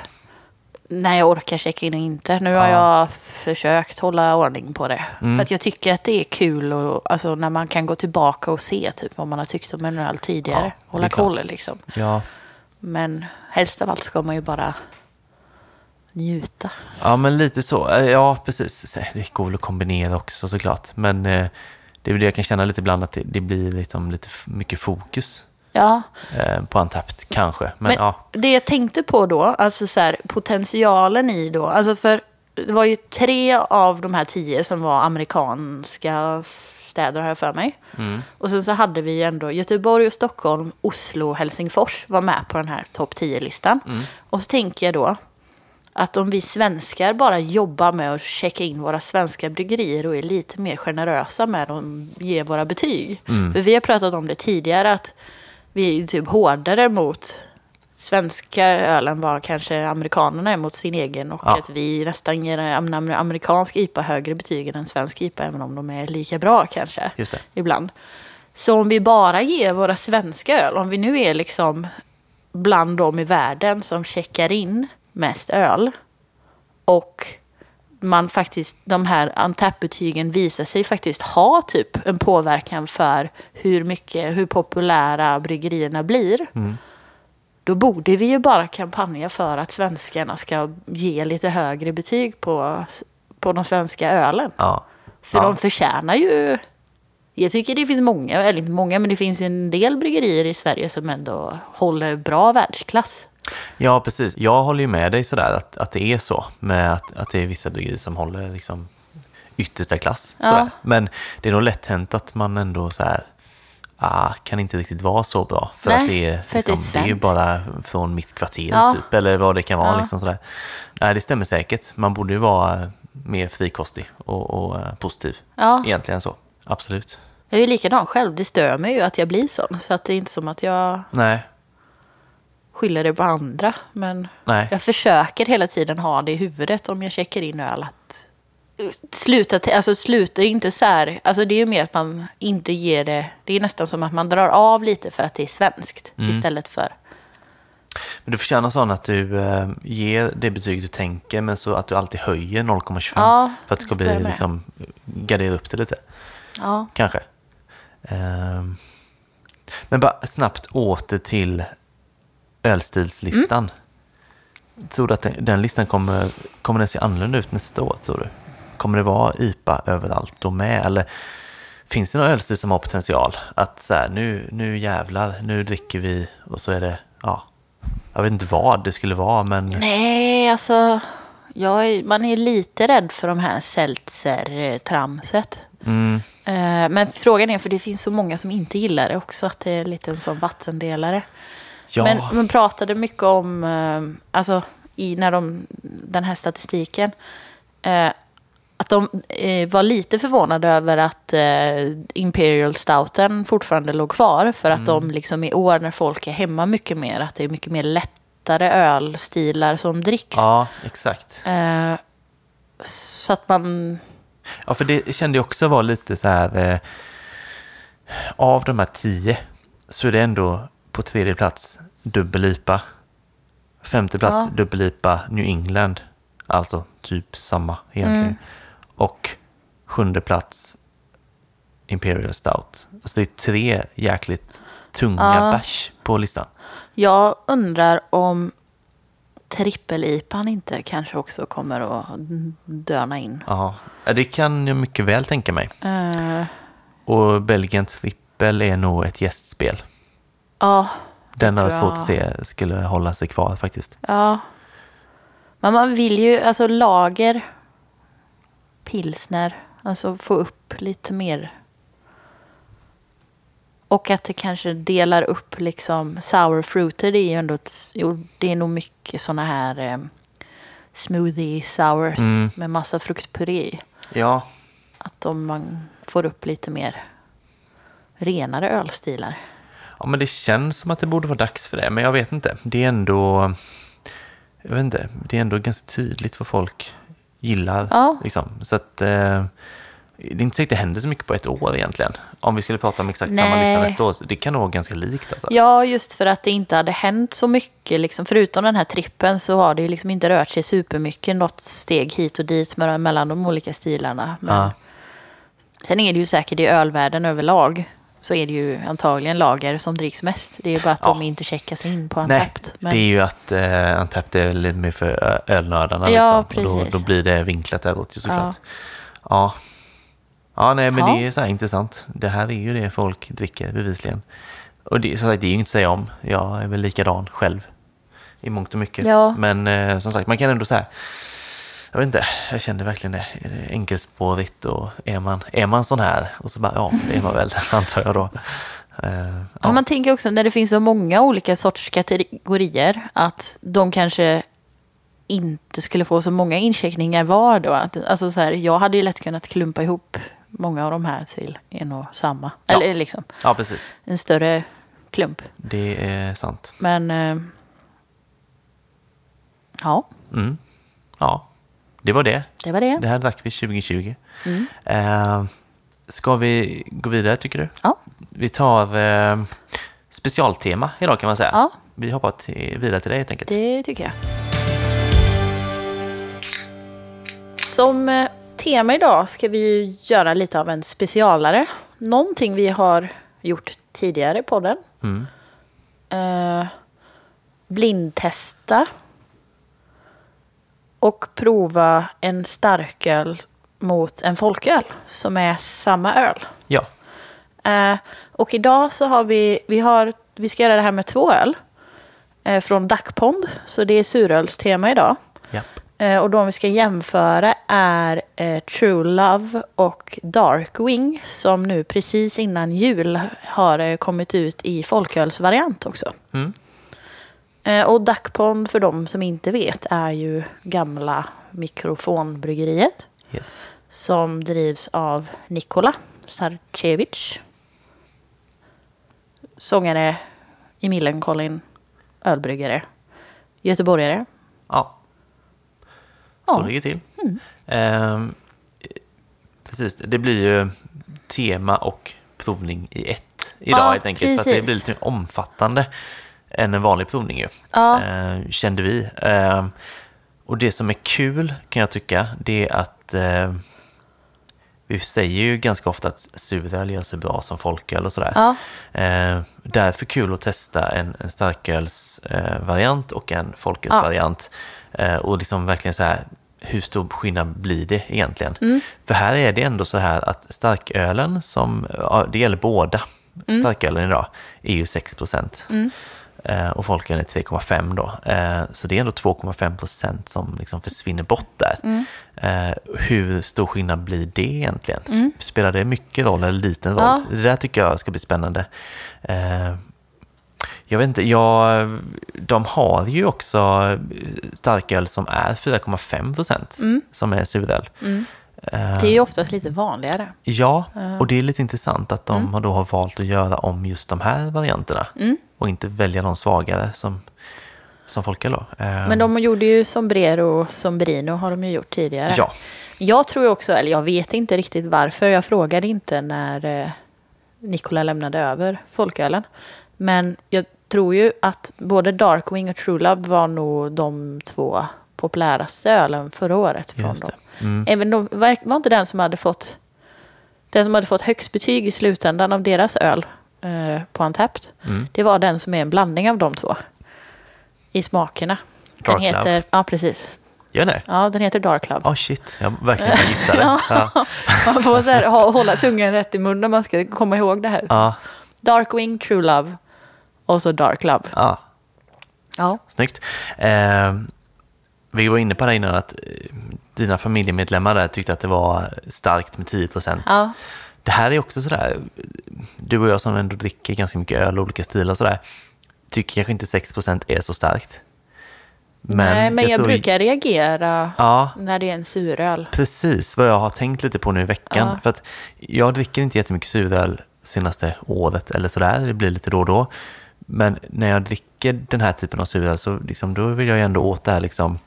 S2: när jag orkar checka in och inte. Nu har jag försökt hålla ordning på det.
S1: Mm.
S2: För att jag tycker att det är kul och, alltså, när man kan gå tillbaka och se typ, vad man har tyckt om en öl tidigare.
S1: Ja, det
S2: hålla
S1: är klart.
S2: koll liksom.
S1: Ja,
S2: Men helst av allt ska man ju bara njuta.
S1: ja men lite så. Eh, Ja, precis. Så, Det går väl att kombinera också såklart. Men eh, det är väl det jag kan känna lite ibland att det, det blir liksom lite f- mycket fokus
S2: Ja,
S1: eh, på Antapt kanske. Men,
S2: Men
S1: ja,
S2: det jag tänkte på då, alltså så här, potentialen i då, alltså för det var ju tre av de här tio som var amerikanska städer har jag för mig. Och sen så hade vi ju ändå Göteborg och Stockholm, Oslo och Helsingfors var med på den här topp 10-listan. Och så tänker jag då att om vi svenskar bara jobbar med att checka in våra svenska bryggerier och är lite mer generösa med att ge våra betyg.
S1: Mm.
S2: För vi har pratat om det tidigare att vi är typ hårdare mot svenska ölen var kanske amerikanerna är mot sin egen och
S1: Ja.
S2: att vi nästan ger en am- amerikansk IPA högre betyg än en svensk IPA även om de är lika bra kanske
S1: just det.
S2: ibland. Så om vi bara ger våra svenska öl, om vi nu är liksom bland de i världen som checkar in mest öl och man faktiskt, de här untapped-betygen visar sig faktiskt ha typ en påverkan för hur mycket, hur populära bryggerierna blir. Då borde vi ju bara kampanja för att svenskarna ska ge lite högre betyg på, på de svenska ölen.
S1: Ja.
S2: För
S1: Ja.
S2: de förtjänar ju... Jag tycker det finns många, eller inte många, men det finns ju en del bryggerier i Sverige som ändå håller bra världsklass.
S1: Ja, precis. Jag håller ju med dig sådär att, att det är så med att, att det är vissa bryggerier som håller liksom yttersta klass.
S2: Ja.
S1: Sådär. Men det är nog lätt hänt att man ändå så här, ah, kan inte riktigt vara så bra. För
S2: Nej,
S1: att det är, liksom,
S2: för att det är
S1: det är ju
S2: svenskt.
S1: bara från mitt kvarter
S2: Ja.
S1: typ, eller vad det kan vara.
S2: Ja.
S1: Liksom sådär. Nej, det stämmer säkert. Man borde ju vara mer frikostig och, och eh, positiv.
S2: Ja.
S1: Egentligen så. Absolut.
S2: Jag är ju likadan själv, det stör mig ju att jag blir sån. Så att det är inte som att jag
S1: Nej,
S2: skyller det på andra. Men
S1: nej.
S2: jag försöker hela tiden ha det i huvudet om jag checkar in öl att uh, sluta, te- alltså sluta inte så här, alltså det är ju mer att man inte ger det, det är nästan som att man drar av lite för att det är svenskt
S1: Mm.
S2: istället för
S1: Men du förtjänar sån att du eh, ger det betyg du tänker men så att du alltid höjer 0,25
S2: Ja,
S1: för att det ska
S2: jag
S1: bli
S2: med.
S1: liksom, gardera upp det lite.
S2: ja.
S1: Kanske. Ehm. men bara snabbt åter till ölstilslistan. Tror du att den, den listan kommer, kommer den se annorlunda ut nästa år? Tror du? Kommer det vara IPA överallt då med? Eller finns det någon ölstil som har potential? Att så här, nu, nu jävlar, nu dricker vi och så är det, ja. Jag vet inte vad det skulle vara, men
S2: Nej, alltså. Jag är, man är lite rädd för de här seltzer-tramset. Eh, Men frågan är, för det finns så många som inte gillar det också, att det är lite en sån vattendelare.
S1: ja.
S2: Men man pratade mycket om, eh, alltså i när de, den här statistiken, eh, att de eh, var lite förvånade över att eh, Imperial Stouten fortfarande låg kvar. För
S1: Mm.
S2: att de liksom i år när folk är hemma mycket mer, att det är mycket mer lättare ölstilar som dricks.
S1: Ja, exakt.
S2: Eh, så att man...
S1: Ja, för det kände jag också var lite så här... Eh, av de här tio så är det ändå på tredje plats dubbel-IPA. Femte plats
S2: Ja.
S1: dubbel-IPA New England. Alltså typ samma egentligen. Och sjunde plats Imperial Stout. Alltså det är tre jäkligt tunga bärs på listan.
S2: Jag undrar om trippel-IPan inte kanske också kommer att döna in.
S1: Ja, det kan jag mycket väl tänka mig.
S2: Eh,
S1: Och Belgien trippel är nog ett gästspel.
S2: ja,
S1: Den har jag
S2: Bra.
S1: svårt att se skulle hålla sig kvar faktiskt.
S2: ja. Men man vill ju, alltså lager, pilsner, alltså få upp lite mer. Och att det kanske delar upp liksom sour fruiter, det är ju ändå, ett, jo, det är nog mycket sådana här eh, smoothie sours
S1: Mm.
S2: med massa fruktpuré i.
S1: Ja,
S2: Att om man får upp lite mer renare ölstilar.
S1: Ja, men det känns som att det borde vara dags för det, men jag vet inte. Det är ändå, jag vet inte, det är ändå ganska tydligt vad folk gillar.
S2: Ja.
S1: Liksom. Så att, eh, det är inte säkert det händer så mycket på ett år egentligen. Om vi skulle prata om exakt samma
S2: Nej.
S1: lista nästa år, så det kan nog vara ganska likt. Alltså.
S2: Ja, just för att det inte hade hänt så mycket. Liksom, förutom den här trippen så har det ju liksom inte rört sig supermycket. Något steg hit och dit mellan mellan de olika stilarna. Men
S1: Ja.
S2: Sen är det ju säkert i ölvärlden överlag så är det ju antagligen lager som dricks mest. Det är ju bara att
S1: Ja.
S2: de inte checkas in på
S1: Nej,
S2: Antapt. Men...
S1: det är ju att eh, Antapped är lite mer för ö- ölnördarna.
S2: Ja,
S1: liksom. Och
S2: precis.
S1: då, då blir det vinklat däråt ju såklart.
S2: Ja.
S1: Ja. Ja. nej men
S2: Ja.
S1: det är så här intressant. Det här är ju det folk dricker bevisligen. Och det, som sagt, det är ju inte att säga om. Jag är väl likadan själv i mångt och mycket.
S2: Ja.
S1: Men eh, som sagt, man kan ändå så här. Jag vet inte, jag kände verkligen det. Är det Enkelspårigt och är man, är man sån här? Och så bara, ja, det är man väl, antar jag då. Eh,
S2: Ja. Man tänker också när det finns så många olika sorters kategorier att de kanske inte skulle få så många incheckningar var då. Att- Alltså så här, jag hade ju lätt kunnat klumpa ihop många av de här till en och samma.
S1: Ja.
S2: Eller liksom
S1: ja, precis.
S2: en större klump.
S1: Det är sant.
S2: Men eh, ja,
S1: Mm. Ja, det var det.
S2: det var det.
S1: Det här drack vi 2020.
S2: Mm.
S1: Eh, ska vi gå vidare tycker du?
S2: Ja.
S1: Vi tar eh, specialtema idag kan man säga.
S2: Ja.
S1: Vi hoppar till, vidare till dig helt enkelt.
S2: Det tycker jag. Som eh, tema idag ska vi ju göra lite av en specialare. Någonting vi har gjort tidigare i podden. Eh, blindtesta. Och prova en starköl mot en folköl som är samma öl.
S1: Ja.
S2: Eh, och idag så har vi, vi har, vi ska göra det här med två öl. Eh, från Dackpond, så det är surölstema idag.
S1: Japp.
S2: Eh, och de vi ska jämföra är eh, True Love och Darkwing. Som nu precis innan jul har eh, kommit ut i folkölsvariant också.
S1: Mm.
S2: Eh, och Dackpond, för de som inte vet, är ju gamla mikrofonbryggeriet
S1: Yes.
S2: som drivs av Nikola Sarcevic. Sångare i Millencolin, ölbryggare, göteborgare.
S1: Ja. Så
S2: Ja. Mm.
S1: ligger det till. Ehm, precis, det blir ju tema och provning i ett idag
S2: Ja,
S1: helt enkelt. För att det
S2: precis.
S1: blir lite mer omfattande än en vanlig provning ju.
S2: Ja.
S1: Ehm, kände vi. Ehm, och det som är kul kan jag tycka, det är att eh, vi säger ju ganska ofta att suröl gör sig bra som folköl och sådär.
S2: Ja.
S1: Eh, därför kul att testa en, en starkölsvariant eh, variant och en folkölsvariant. Eh, och liksom verkligen så här, hur stor skillnad blir det egentligen? För här är det ändå så här att starkölen, som, ja, det gäller båda starkölen idag, är ju 6 procent. Eh, och folkölen är 3,5 då. Eh, så det är ändå 2,5 procent som liksom försvinner bort där. Eh, hur stor skillnad blir det egentligen? Spelar det mycket roll eller liten roll?
S2: Ja.
S1: Det där tycker jag ska bli spännande. Eh, jag vet inte, jag, de har ju Mm. också starköl som är 4,5 procent, som är suröl. Eh,
S2: Det är ju oftast lite vanligare.
S1: Ja, Mm. och det är lite intressant att de har då har valt att göra om just de här varianterna och inte välja de svagare som, som folk gör då. Eh,
S2: Men de gjorde ju Sombrero och Sombrino har de ju gjort tidigare.
S1: Ja.
S2: Jag tror ju också, eller jag vet inte riktigt varför, jag frågade inte när eh, Nikola lämnade över folkölen. Men jag tror ju att både Darkwing och True Love var nog de två populäraste ölen förra året från
S1: Just det. Mm.
S2: dem. Även de, verk- var inte den som hade fått den som hade fått högst betyg i slutändan av deras öl eh, på Antapped,
S1: Mm.
S2: det var den som är en blandning av de två i smakerna. Den
S1: Dark
S2: heter, Ja, precis.
S1: Gör det?
S2: Ja, den heter Dark Love.
S1: Ja, Ah, shit. Jag verkligen gissade. ja.
S2: Man får så här, ha, hålla tungan rätt i munnen om man ska komma ihåg det här.
S1: Ja,
S2: Darkwing, True Love och så Dark Love.
S1: ja.
S2: Ja.
S1: Snyggt. Eh, vi var inne på det innan att eh, dina familjemedlemmar där tyckte att det var starkt med 10 procent.
S2: Ja.
S1: Det här är också sådär, eh, du och jag som ändå dricker ganska mycket öl och olika stilar och sådär, tycker kanske inte 6 procent är så starkt. Men
S2: Nej, men jag,
S1: tror-
S2: brukar reagera
S1: Ja,
S2: när det är en suröl.
S1: precis vad jag har tänkt lite på nu i veckan. För att jag dricker inte jättemycket suröl senaste året eller sådär. Det blir lite då och då. Men när jag dricker den här typen av suröl så liksom, då vill jag ju ändå åt det här liksom,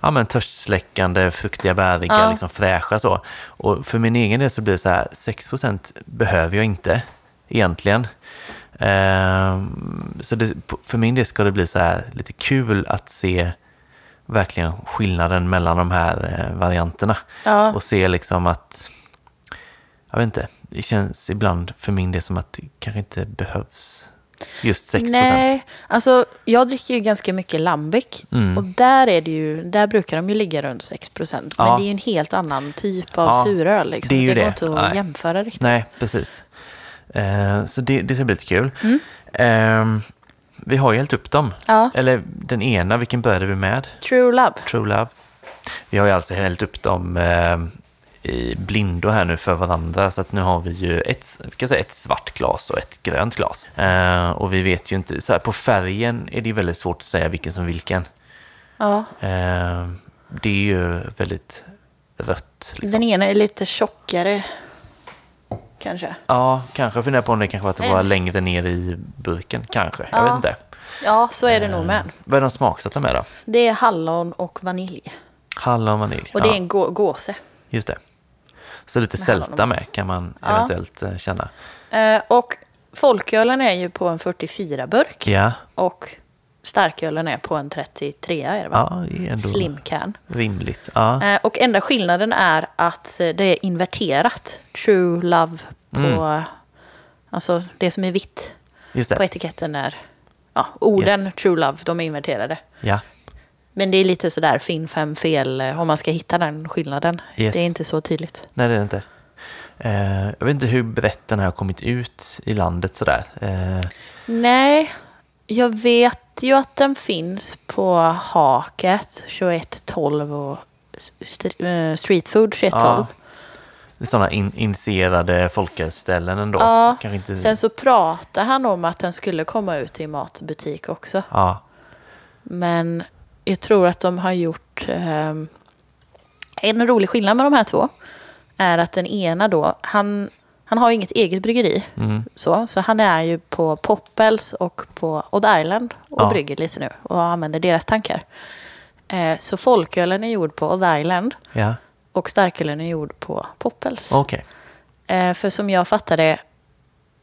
S1: ja, men törstsläckande, fruktiga, bäriga,
S2: Ja.
S1: liksom, fräscha så. Och för min egen del så blir det så här, 6 behöver jag inte egentligen. Ehm, så det, för min del ska det bli så här lite kul att se verkligen skillnaden mellan de här eh, varianterna.
S2: Ja.
S1: Och se liksom att, jag vet inte, det känns ibland för min del som att det kanske inte behövs just 6
S2: Nej, alltså jag dricker ju ganska mycket lambic
S1: Mm.
S2: och där, är det ju, där brukar de ju ligga runt 6 procent. Men
S1: Ja.
S2: det är ju en helt annan typ av
S1: Ja,
S2: suröl. Liksom.
S1: det är ju
S2: går
S1: det.
S2: inte att
S1: Nej.
S2: jämföra riktigt.
S1: Nej, precis. Eh, så det, det ska bli lite kul. Ehm, vi har ju hällt upp dem.
S2: Mm. Ja.
S1: Eller den ena, vilken började vi med?
S2: True Love.
S1: True Love. Vi har ju alltså hällt upp dem eh, i blindo här nu för varandra så att nu har vi ju ett, vi kan säga ett svart glas och ett grönt glas. Eh, och vi vet ju inte, så här, på färgen är det ju väldigt svårt att säga vilken som vilken.
S2: Ja.
S1: Eh, det är ju väldigt rött. Liksom.
S2: Den ena är lite tjockare kanske.
S1: Ja, kanske funderar på om det kanske var att det var
S2: Mm.
S1: längre ner i burken. Kanske, jag
S2: Ja.
S1: vet inte.
S2: Ja, så är det nog med.
S1: Vad är de smaksatta med då?
S2: Det är hallon och vanilj.
S1: Hallon och vanilj.
S2: Och det
S1: ja.
S2: är en gå- gåse.
S1: Just det. Så lite
S2: hallon och-
S1: sälta med kan man eventuellt eh, känna.
S2: Eh, och folkölen är ju på en 44-burk.
S1: Ja,
S2: Och starkölen är på en 33 är det va?
S1: ja det är ändå
S2: Slimcan.
S1: rimligt. Ja.
S2: Eh, och enda skillnaden är att eh, det är inverterat. True love på...
S1: Mm.
S2: Alltså det som är vitt
S1: Just
S2: på
S1: det.
S2: etiketten är... Ja, orden
S1: Yes.
S2: true love, de är inverterade.
S1: Ja.
S2: Men det är lite sådär finn fem fel eh, om man ska hitta den skillnaden.
S1: Yes.
S2: Det är inte så tydligt.
S1: Nej, det är det inte. Eh, jag vet inte hur brett den här har kommit ut i landet sådär. Eh,
S2: Nej, jag vet ju att den finns på Haket 2112 och s- st- eh, Streetfood 2112.
S1: det är sådana in, initierade folkölsställen ändå.
S2: Ja,
S1: Kanske inte...
S2: Sen så pratade han om att den skulle komma ut i matbutik också.
S1: Ja,
S2: Men jag tror att de har gjort... ehm, en rolig skillnad med de här två är att den ena då, han, han har ju inget eget bryggeri. Så, så han är ju på Poppels och på Odd Island och
S1: Ja.
S2: brygger lite nu och använder deras tankar. Eh, så folkölen är gjord på Odd Island
S1: ja.
S2: och starkölen är gjord på Poppels.
S1: okej.
S2: Eh, för som jag fattar det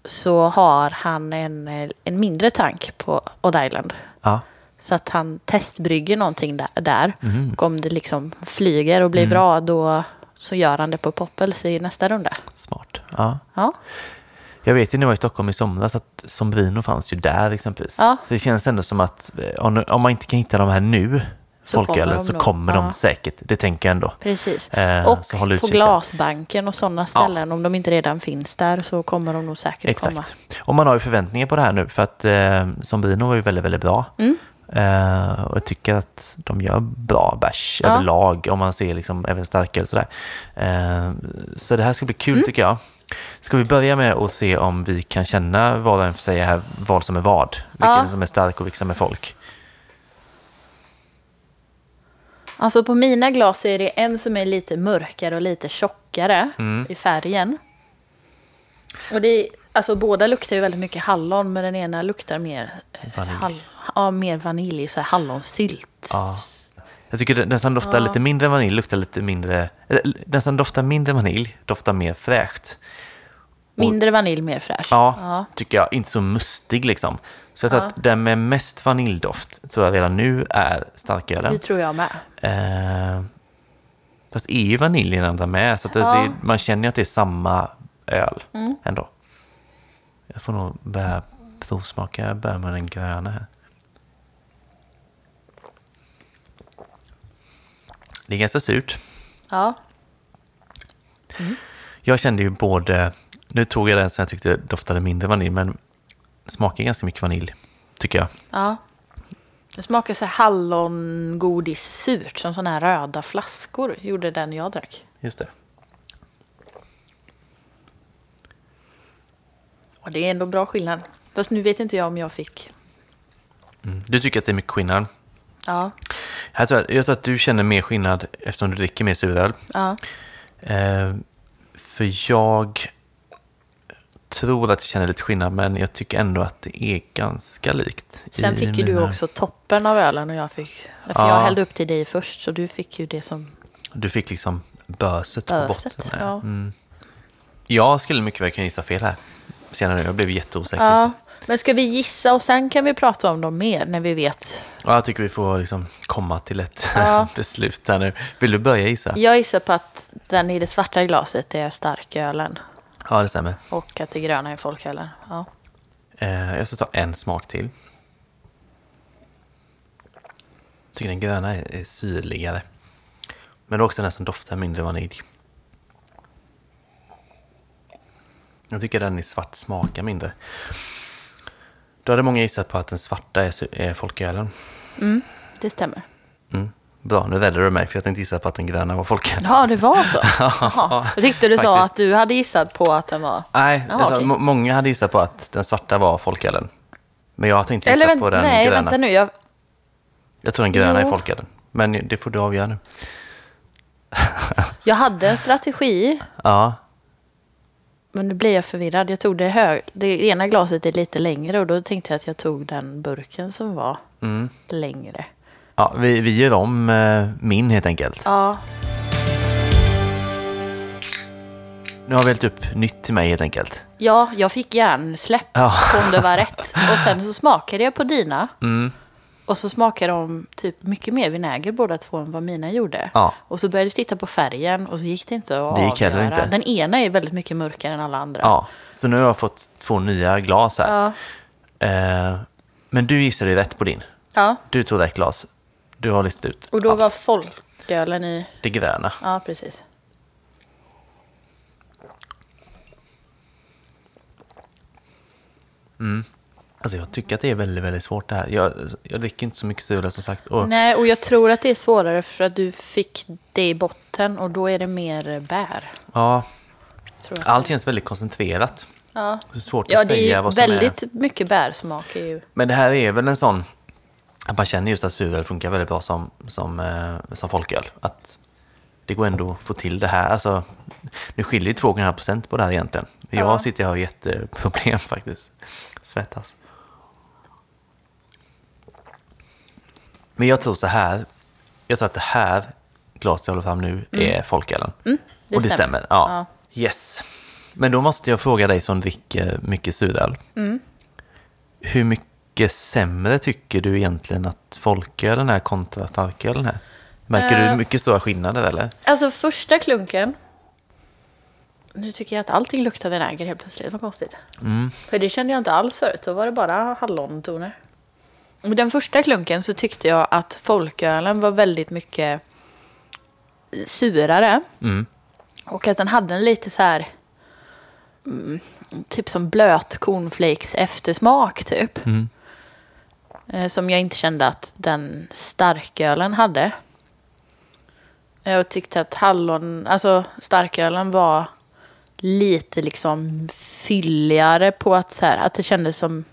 S2: så har han en, eh, en mindre tank på Odd Island.
S1: Ja.
S2: Så att han testbrygger någonting där. där.
S1: Mm.
S2: Och om det liksom flyger och blir bra då så gör han det på Poppels i nästa runda.
S1: Smart. Ja.
S2: Ja,
S1: Jag vet ju när jag var i Stockholm i somras att Sombrino fanns ju där exempelvis.
S2: Ja.
S1: Så det känns ändå som att eh, om, om man inte kan hitta de här nu,
S2: Så kommer
S1: folkölen,
S2: de
S1: så
S2: nog.
S1: kommer de
S2: Ja.
S1: säkert. Det tänker jag ändå.
S2: precis.
S1: Eh, så håll
S2: och på
S1: utkik där.
S2: Glasbanken och sådana ställen. Om de inte redan finns där så kommer de nog säkert komma.
S1: Exakt. Och man har ju förväntningar på det här nu för att eh, Sombrino var ju väldigt, väldigt bra.
S2: Mm.
S1: Eh, och jag tycker att de gör bra bärs
S2: Ja.
S1: överlag om man ser liksom även starkare och sådär. Eh, så det här ska bli kul
S2: Mm.
S1: tycker jag. Ska vi börja med att se om vi kan känna vad den säger här, vad som är vad? Vilken
S2: Ja.
S1: som är stark och vilken som är folk?
S2: Alltså på mina glas är det en som är lite mörkare och lite tjockare
S1: Mm.
S2: i färgen. Och det är, alltså båda luktar ju väldigt mycket hallon, men den ena luktar mer, eh,
S1: Vanilj.
S2: hall, ja, mer vanilj, så här hallonsylt.
S1: Ja. Jag tycker den den som doftar lite mindre vanilj luktar lite mindre... eller, Den som doftar mindre vanilj doftar mer fräscht.
S2: Mindre vanilj, mer fräsch.
S1: Ja, tycker jag. Inte så mustig liksom. Så jag tror
S2: Ja.
S1: att den med mest vaniljdoft tror jag redan nu är starkölen.
S2: Det tror jag med.
S1: Eh, fast är ju vaniljen ändå med, så att det,
S2: Ja. Mm.
S1: det, man känner ju att det är samma öl ändå. Jag får nog börja provsmaka. Jag börjar med den gröna här. Det är ganska surt.
S2: Ja.
S1: Jag kände ju både... Nu tog jag den som jag tyckte doftade mindre vanilj, men smakar ganska mycket vanilj, tycker jag.
S2: ja. Det smakar så här hallongodissurt, som sådana här röda flaskor gjorde den jag drack.
S1: Just det.
S2: Och det är ändå bra skillnad. Fast nu vet inte jag om jag fick...
S1: Mm. Du tycker att det är mycket skillnad.
S2: Ja.
S1: Jag tror, att, jag tror att du känner mer skillnad eftersom du dricker mer suröl.
S2: Ja.
S1: Eh, för jag tror att jag känner lite skillnad, men jag tycker ändå att det är ganska likt. i
S2: Sen fick ju du
S1: mina-
S2: också toppen av ölen och jag fick... För
S1: Ja.
S2: jag hällde upp till dig först, så du fick ju det som...
S1: Du fick liksom böset,
S2: Böset,
S1: på botten.
S2: ja.
S1: Mm. Jag skulle mycket väl kunna gissa fel här. Senare nu, jag blev jätteosäker.
S2: Ja.
S1: just
S2: Men ska vi gissa och sen kan vi prata om dem mer när vi vet.
S1: nu. Ja, jag tycker vi får liksom komma till ett
S2: Ja.
S1: beslut här nu. Vill du börja gissa?
S2: Jag gissar på att den i det svarta glaset är starkölen
S1: Ja, det stämmer.
S2: och att det gröna är folkölen. Ja.
S1: Eh, jag ska ta en smak till. Jag tycker den gröna är, är syrligare. Men det är också den som doftar mindre vanilj. Jag tycker den i svart smakar mindre. Då hade många gissat på att den svarta är, sy- är folkölen.
S2: Det stämmer.
S1: Bra, nu räddade du mig för jag tänkte gissa på att den gröna var folkölen.
S2: Ja, det var så. Jaha. Jag tyckte du sa
S1: Faktiskt.
S2: att du hade gissat på att den var...
S1: Nej,
S2: Ja,
S1: alltså,
S2: okej.
S1: må- många hade gissat på att den svarta var folkölen. Men jag tänkte gissa
S2: Eller
S1: på den
S2: vänta, nej,
S1: gröna.
S2: vänta nu. Jag,
S1: Jag tror den gröna är
S2: Jo.
S1: folkölen. Men det får du avgöra nu.
S2: jag hade en strategi,
S1: Ja,
S2: men nu blir jag förvirrad. Jag tog det hög... Det ena glaset är lite längre och då tänkte jag att jag tog den burken som var
S1: Mm.
S2: längre.
S1: ja vi, vi gör om eh, min helt enkelt.
S2: Ja,
S1: Nu har vi hällt upp nytt till mig helt enkelt.
S2: ja jag fick hjärnsläpp
S1: Ja.
S2: på om det var rätt. Och sen så smakade jag på dina.
S1: Mm.
S2: Och så smakade de typ mycket mer vinäger båda två än vad mina gjorde.
S1: Ja.
S2: Och så började vi titta på färgen och så gick det inte att
S1: Det gick heller
S2: avgöra.
S1: inte.
S2: Den ena är väldigt mycket mörkare än alla andra.
S1: Ja, så nu har jag fått två nya glas här.
S2: Ja.
S1: Eh, men du gissade ju rätt på din.
S2: Ja,
S1: Du tog rätt glas. Du har listat ut
S2: och då
S1: allt.
S2: var folkölen i...
S1: det gröna.
S2: Ja, precis.
S1: Alltså jag tycker att det är väldigt, väldigt svårt det här. Jag, jag dricker inte så mycket sula som sagt. Och,
S2: Nej, och jag tror att det är svårare för att du fick det i botten och då är det mer bär.
S1: ja,
S2: Tror jag.
S1: allt känns väldigt koncentrerat.
S2: Ja.
S1: Det är svårt
S2: Ja,
S1: att
S2: det är
S1: säga
S2: ju
S1: vad som är...
S2: väldigt mycket bärsmak. Är ju.
S1: Men det här är väl en sån... Att man känner just att suröl funkar väldigt bra som, som, eh, som folköl. Att det går ändå att få till det här. Alltså, nu skiljer ju 2,5% på det här egentligen. Jag
S2: Ja.
S1: sitter och har jätteproblem faktiskt. Svettas. Men jag tror så här. Jag tror att det här glaset jag håller fram nu är folkölen.
S2: Mm. det
S1: och det stämmer.
S2: stämmer.
S1: Ja. Yes. Men då måste jag fråga dig som dricker mycket suröl.
S2: Mm.
S1: Hur mycket sämre tycker du egentligen att folkölen är kontra starkölen är? Märker
S2: Eh.
S1: du mycket stora skillnader eller?
S2: Alltså första klunken. Nu tycker jag att allting luktar vinäger helt plötsligt. Vad konstigt. För det kände jag inte alls förut. Då var det bara hallontoner. Och den första klunken så tyckte jag att folkölen var väldigt mycket surare. Och att den hade en lite så här... Mm, typ som blöt cornflakes eftersmak typ. Eh, Som jag inte kände att den starkölen hade. Jag tyckte att hallon, alltså starkölen var lite liksom fylligare på att så här, att det kändes som,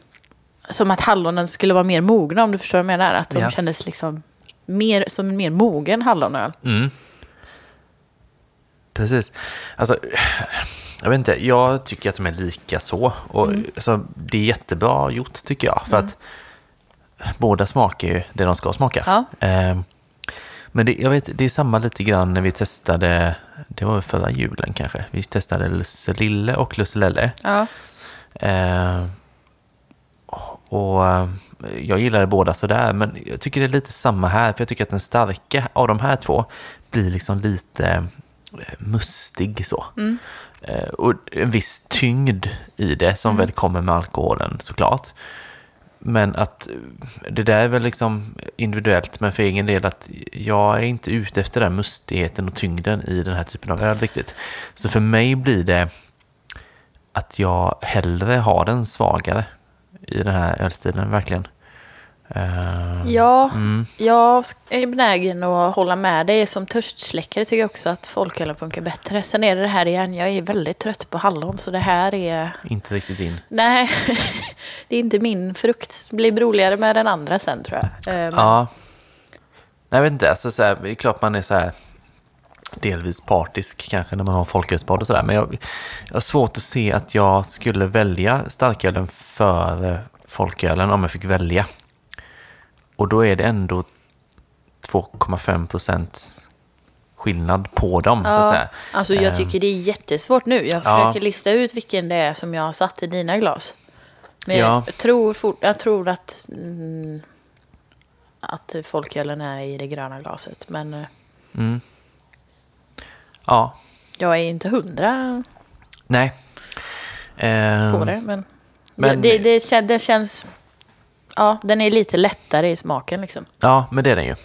S2: som att hallonen skulle vara mer mogna om du förstår vad jag menar. Att de
S1: Ja.
S2: kändes liksom mer, som en mer mogen hallonöl.
S1: Mm. Precis. Alltså, jag vet inte, jag tycker att de är lika så. Och, alltså, det är jättebra gjort tycker jag. För att båda smakar ju det de ska smaka.
S2: Ja.
S1: Ehm, men det, jag vet, det är samma lite grann när vi testade, det var väl förra julen kanske, vi testade Lusselille och Lusselelle.
S2: Ja.
S1: Ehm, och eh, jag gillade båda sådär, men jag tycker det är lite samma här, för jag tycker att den starka av de här två blir liksom lite eh, mustig så. Eh, Och en viss tyngd i det som väl kommer med alkoholen såklart. Men att eh, det där är väl liksom individuellt, men för egen del att jag är inte ute efter den mustigheten och tyngden i den här typen av öl riktigt. Så för mig blir det att jag hellre har den svagare i den här ölstilen, verkligen. Eh,
S2: Ja,
S1: Mm.
S2: jag är benägen att hålla med dig. Som törstsläckare tycker jag också att folkölen funkar bättre. Sen är det det här igen, jag är väldigt trött på hallon så det här är...
S1: Inte riktigt in.
S2: Nej, det är inte min frukt. Det blir roligare med den andra sen tror jag. Eh, men-
S1: Ja. Nej, jag vet inte. Alltså, så här, det är klart man är så här delvis partisk kanske när man har folkölsbad och sådär. Men jag, jag har svårt att se att jag skulle välja starkölen före folkölen om jag fick välja. Och då är det ändå 2,5 procent skillnad på dem. Så att säga.
S2: Alltså jag
S1: Eh,
S2: tycker det är jättesvårt nu. Jag
S1: Ja.
S2: försöker lista ut vilken det är som jag har satt i dina glas. Men
S1: Ja.
S2: jag, tror fort, jag tror att, mm, att folkölen är i det gröna glaset. Men eh,
S1: Ja,
S2: jag är inte hundra
S1: nej. Ehm,
S2: på det. Men,
S1: Men-
S2: det, det, kän- det känns... Ja, den är lite lättare i smaken liksom.
S1: Ja, men det är den ju.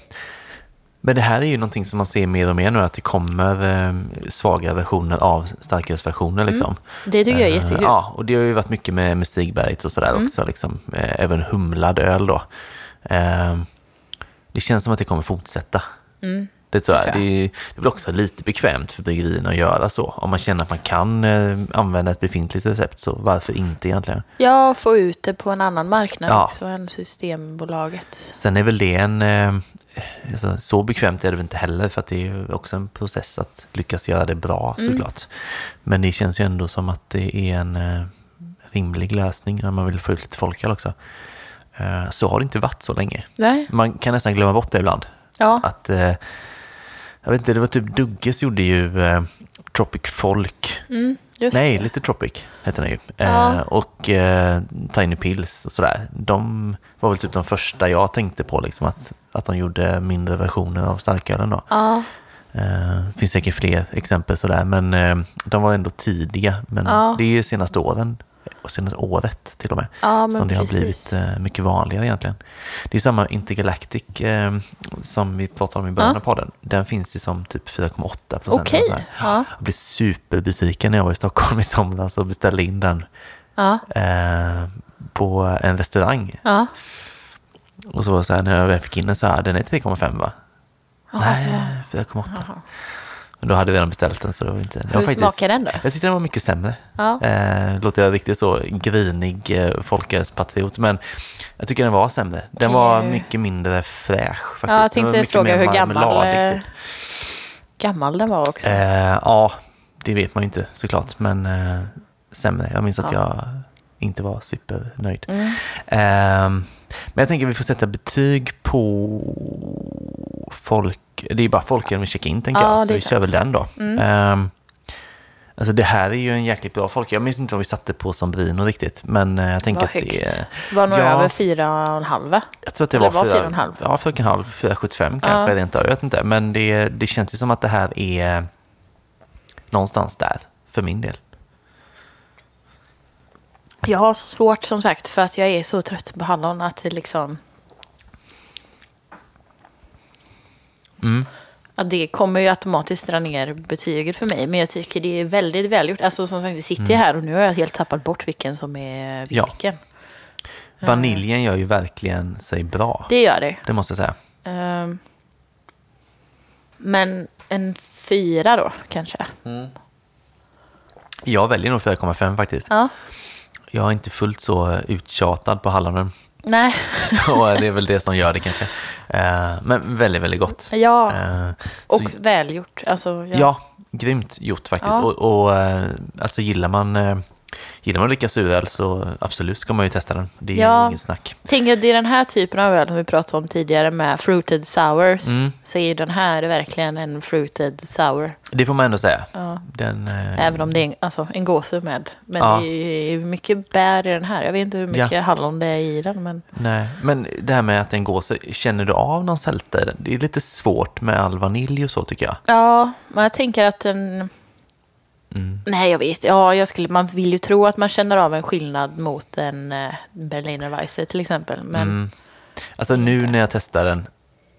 S1: Men det här är ju någonting som man ser mer och mer nu, att det kommer eh, svaga versioner av starkölsversioner. Liksom.
S2: Mm. Det tycker jag är jättekul. Mm.
S1: Eh, Ja, och det har ju varit mycket med, med Stigberget och sådär också, liksom. Eh, även humlad öl då. Eh, det känns som att det kommer fortsätta.
S2: Mm.
S1: Det tror jag. Det är, ju- det är väl också lite bekvämt för bryggerierna att göra så. Om man känner att man kan eh, använda ett befintligt recept, så varför inte egentligen?
S2: Jag får ut det på en annan marknad
S1: Ja.
S2: också än Systembolaget.
S1: Sen är väl det en... eh, Alltså, så bekvämt är det väl inte heller för att det är ju också en process att lyckas göra det bra såklart. Men det känns ju ändå som att det är en eh, rimlig lösning när man vill få ut lite folköl också. Eh, Så har det inte varit så länge.
S2: Nej.
S1: Man kan nästan glömma bort det ibland.
S2: Ja.
S1: Att, eh, jag vet inte, det var typ Dugges gjorde ju eh, Tropic Folk.
S2: Mm, just
S1: Nej,
S2: det.
S1: lite Tropic hette den ju.
S2: Ja.
S1: Eh, och eh, Tiny Pills och sådär. De var väl typ de första jag tänkte på, liksom, att, att de gjorde mindre versioner av starkölen. Då.
S2: Ja.
S1: Eh, det finns säkert fler exempel sådär, men eh, de var ändå tidiga. Men
S2: Ja.
S1: det är ju senaste åren, och senaste året till och med,
S2: Ja, men
S1: som det har
S2: precis.
S1: blivit eh, mycket vanligare egentligen. Det är samma Intergalactic eh, som vi pratade om i början
S2: Ja.
S1: av podden. Den finns ju som typ 4,8 procent. eller
S2: Okej.
S1: sådär.
S2: Ja.
S1: Jag blev superbesviken när jag var i Stockholm i somras och beställde in den
S2: Ja.
S1: eh, på en restaurang.
S2: Ja.
S1: Och så var det så här, när jag väl fick in den så här, den är 3,5 va?
S2: alltså,
S1: Nej, 4,8. Men då hade vi redan beställt den så det var inte... det var
S2: Hur smakar den då?
S1: Jag tyckte den var mycket sämre.
S2: Ja.
S1: Eh, låter jag riktigt så grinig eh, folkölspatriot, men jag tycker den var sämre. Den var
S2: Okej.
S1: mycket mindre fräsch faktiskt.
S2: Ja, jag
S1: Den var
S2: tänkte
S1: mycket
S2: fråga
S1: mer
S2: hur gammal,
S1: marmeladig,
S2: eh,
S1: typ.
S2: gammal den var också.
S1: Eh, ja, det vet man ju inte såklart, men eh, sämre. Jag minns att
S2: Ja.
S1: jag inte var supernöjd.
S2: Mm,
S1: Ehm, men jag tänker vi får sätta betyg på folk. Det är bara folk vi checkar in tänker
S2: Ja,
S1: jag, så
S2: det är
S1: vi kör
S2: sant.
S1: väl den då.
S2: mm.
S1: Ehm, alltså det här är ju en jäkligt bra folk. Jag minns inte vad vi satte på som Brino riktigt, men eh, jag tänker
S2: var
S1: att det är...
S2: högt. Var nog
S1: Ja.
S2: över fyra och en halv va?
S1: Jag tror att det
S2: Eller
S1: var,
S2: var
S1: fyra-
S2: 4,5.
S1: Ja, 4,5, 4,75 kanske rent av. Jag vet inte. Men det, det känns ju som att det här är någonstans där, för min del.
S2: Jag har så svårt som sagt för att jag är så trött på hallon att det liksom...
S1: Mm.
S2: Att det kommer ju automatiskt dra ner betyget för mig. Men jag tycker det är väldigt välgjort. Alltså som sagt, vi sitter ju här och nu har jag helt tappat bort vilken som är
S1: Mm. Ja.
S2: vilken.
S1: Vaniljen gör ju verkligen sig bra. Det,
S2: Det gör det.
S1: måste jag säga.
S2: Ehm, men en fyra då kanske.
S1: Jag väljer nog 4,5 faktiskt.
S2: Ja.
S1: Jag är inte fullt så eh, uttjatad på hallonen.
S2: Nej.
S1: Så det är väl det som gör det kanske. Eh, men väldigt, väldigt gott.
S2: Ja,
S1: Eh,
S2: och
S1: så,
S2: välgjort. Alltså,
S1: ja. grymt gjort faktiskt.
S2: Ja.
S1: Och, och eh, alltså gillar man eh, Gillar man att dricka suröl så absolut ska man ju testa den. Det är
S2: Ja.
S1: inget snack.
S2: Tänker att det är den här typen av öl som vi pratade om tidigare med fruited sours.
S1: Mm.
S2: Så är ju den här verkligen en fruited sour.
S1: Det får man ändå säga.
S2: Ja.
S1: Den, eh,
S2: Även om det är en, alltså, en gåse med. Men
S1: Ja.
S2: det är ju mycket bär i den här. Jag vet inte hur mycket hallon det är i den. Men
S1: Nej, men det här med att den går sig, känner du av någon sälta i den? Det är lite svårt med all vanilj och så tycker jag.
S2: ja, men jag tänker att den...
S1: Mm.
S2: Nej, jag vet. Ja, jag skulle, man vill ju tro att man känner av en skillnad mot en eh, Berliner Weisse till exempel. Men
S1: Alltså nu när jag testade den,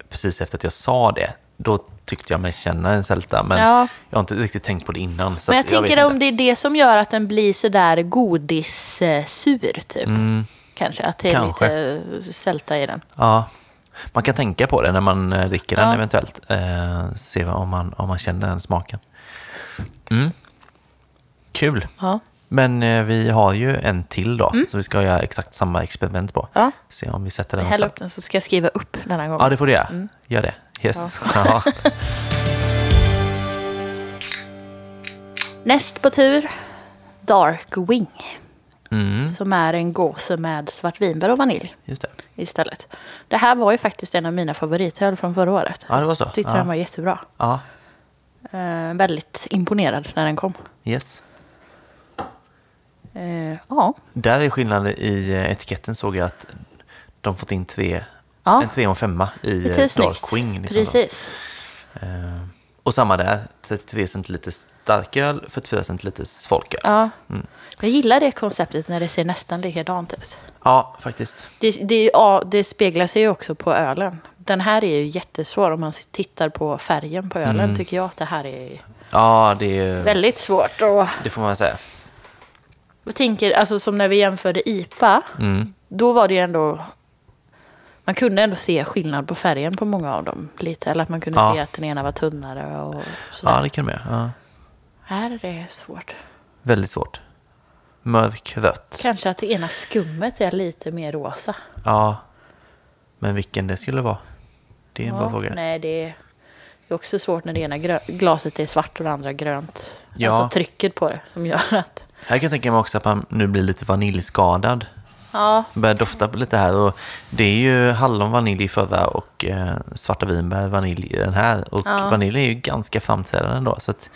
S1: precis efter att jag sa det, då tyckte jag mig känna en sälta, men
S2: Ja.
S1: jag har inte riktigt tänkt på det innan. Så
S2: Men jag
S1: att vet
S2: tänker
S1: inte.
S2: om det är det som gör att den blir sådär godissur, typ. Kanske, att det är
S1: Mm. Kanske.
S2: lite sälta i den.
S1: Ja, man kan tänka på det när man eh, dricker den
S2: Ja.
S1: eventuellt. Eh, se vad- om man, om man känner den smaken. Mm. Kul.
S2: Ja.
S1: Men eh, vi har ju en till då, så vi ska göra exakt samma experiment på.
S2: Mm. Ja.
S1: Se om vi sätter den
S2: Häll
S1: också.
S2: upp den så ska jag skriva upp denna gång.
S1: Ja, det får du göra.
S2: Mm.
S1: Gör det. Yes. Ja.
S2: Näst på tur, Dark Wing.
S1: Mm.
S2: Som är en gåse med svartvinbär och vanilj
S1: Just det.
S2: istället. Det här var ju faktiskt en av mina favoritöl från förra året.
S1: Ja, det var så.
S2: Tyckte
S1: ja.
S2: den var jättebra.
S1: ja.
S2: Eh, väldigt imponerad när den kom.
S1: Yes.
S2: Eh, ja,
S1: Där är skillnaden i eh, etiketten såg jag att de fått in tre,
S2: Ja.
S1: en tre och en femma i
S2: det är
S1: eh,
S2: snyggt.
S1: Dark Wing. Liksom så.
S2: Precis.
S1: Eh, Och samma där, 33 centiliter starköl, 44 centiliter folköl. Ja.
S2: Ja. Jag gillar det konceptet när det ser nästan likadant ut.
S1: faktiskt.
S2: Det, det, ja, det speglar sig ju också på ölen. Den här är ju jättesvår om man tittar på färgen på ölen.
S1: Mm.
S2: Tycker jag att det här är
S1: Ja, det, är ju-
S2: väldigt svårt. Och
S1: det får man säga.
S2: jag tänker, alltså som när vi jämförde IPA.
S1: Mm.
S2: Då var det ju ändå... Man kunde ändå se skillnad på färgen på många av dem. Lite. Eller att man kunde
S1: Ja.
S2: se att den ena var tunnare och så.
S1: Ja, det kan man göra. Ja.
S2: Här är det svårt.
S1: Väldigt svårt. Mörkrött.
S2: Kanske att det ena skummet är lite mer rosa.
S1: Ja. Men vilken det skulle vara? Det är en bra
S2: Ja,
S1: fråga.
S2: Nej, det är det är också svårt när det ena grö- glaset är svart och det andra grönt.
S1: Ja.
S2: Alltså trycket på det som gör att...
S1: Här kan jag tänka mig också att man nu blir lite vaniljskadad.
S2: Ja,
S1: Börjar dofta på lite här och det är ju hallon, vanilj i förra och eh, svarta vinbär, vanilj i den här. Och
S2: Ja.
S1: vanilj är ju ganska framträdande ändå. Så att,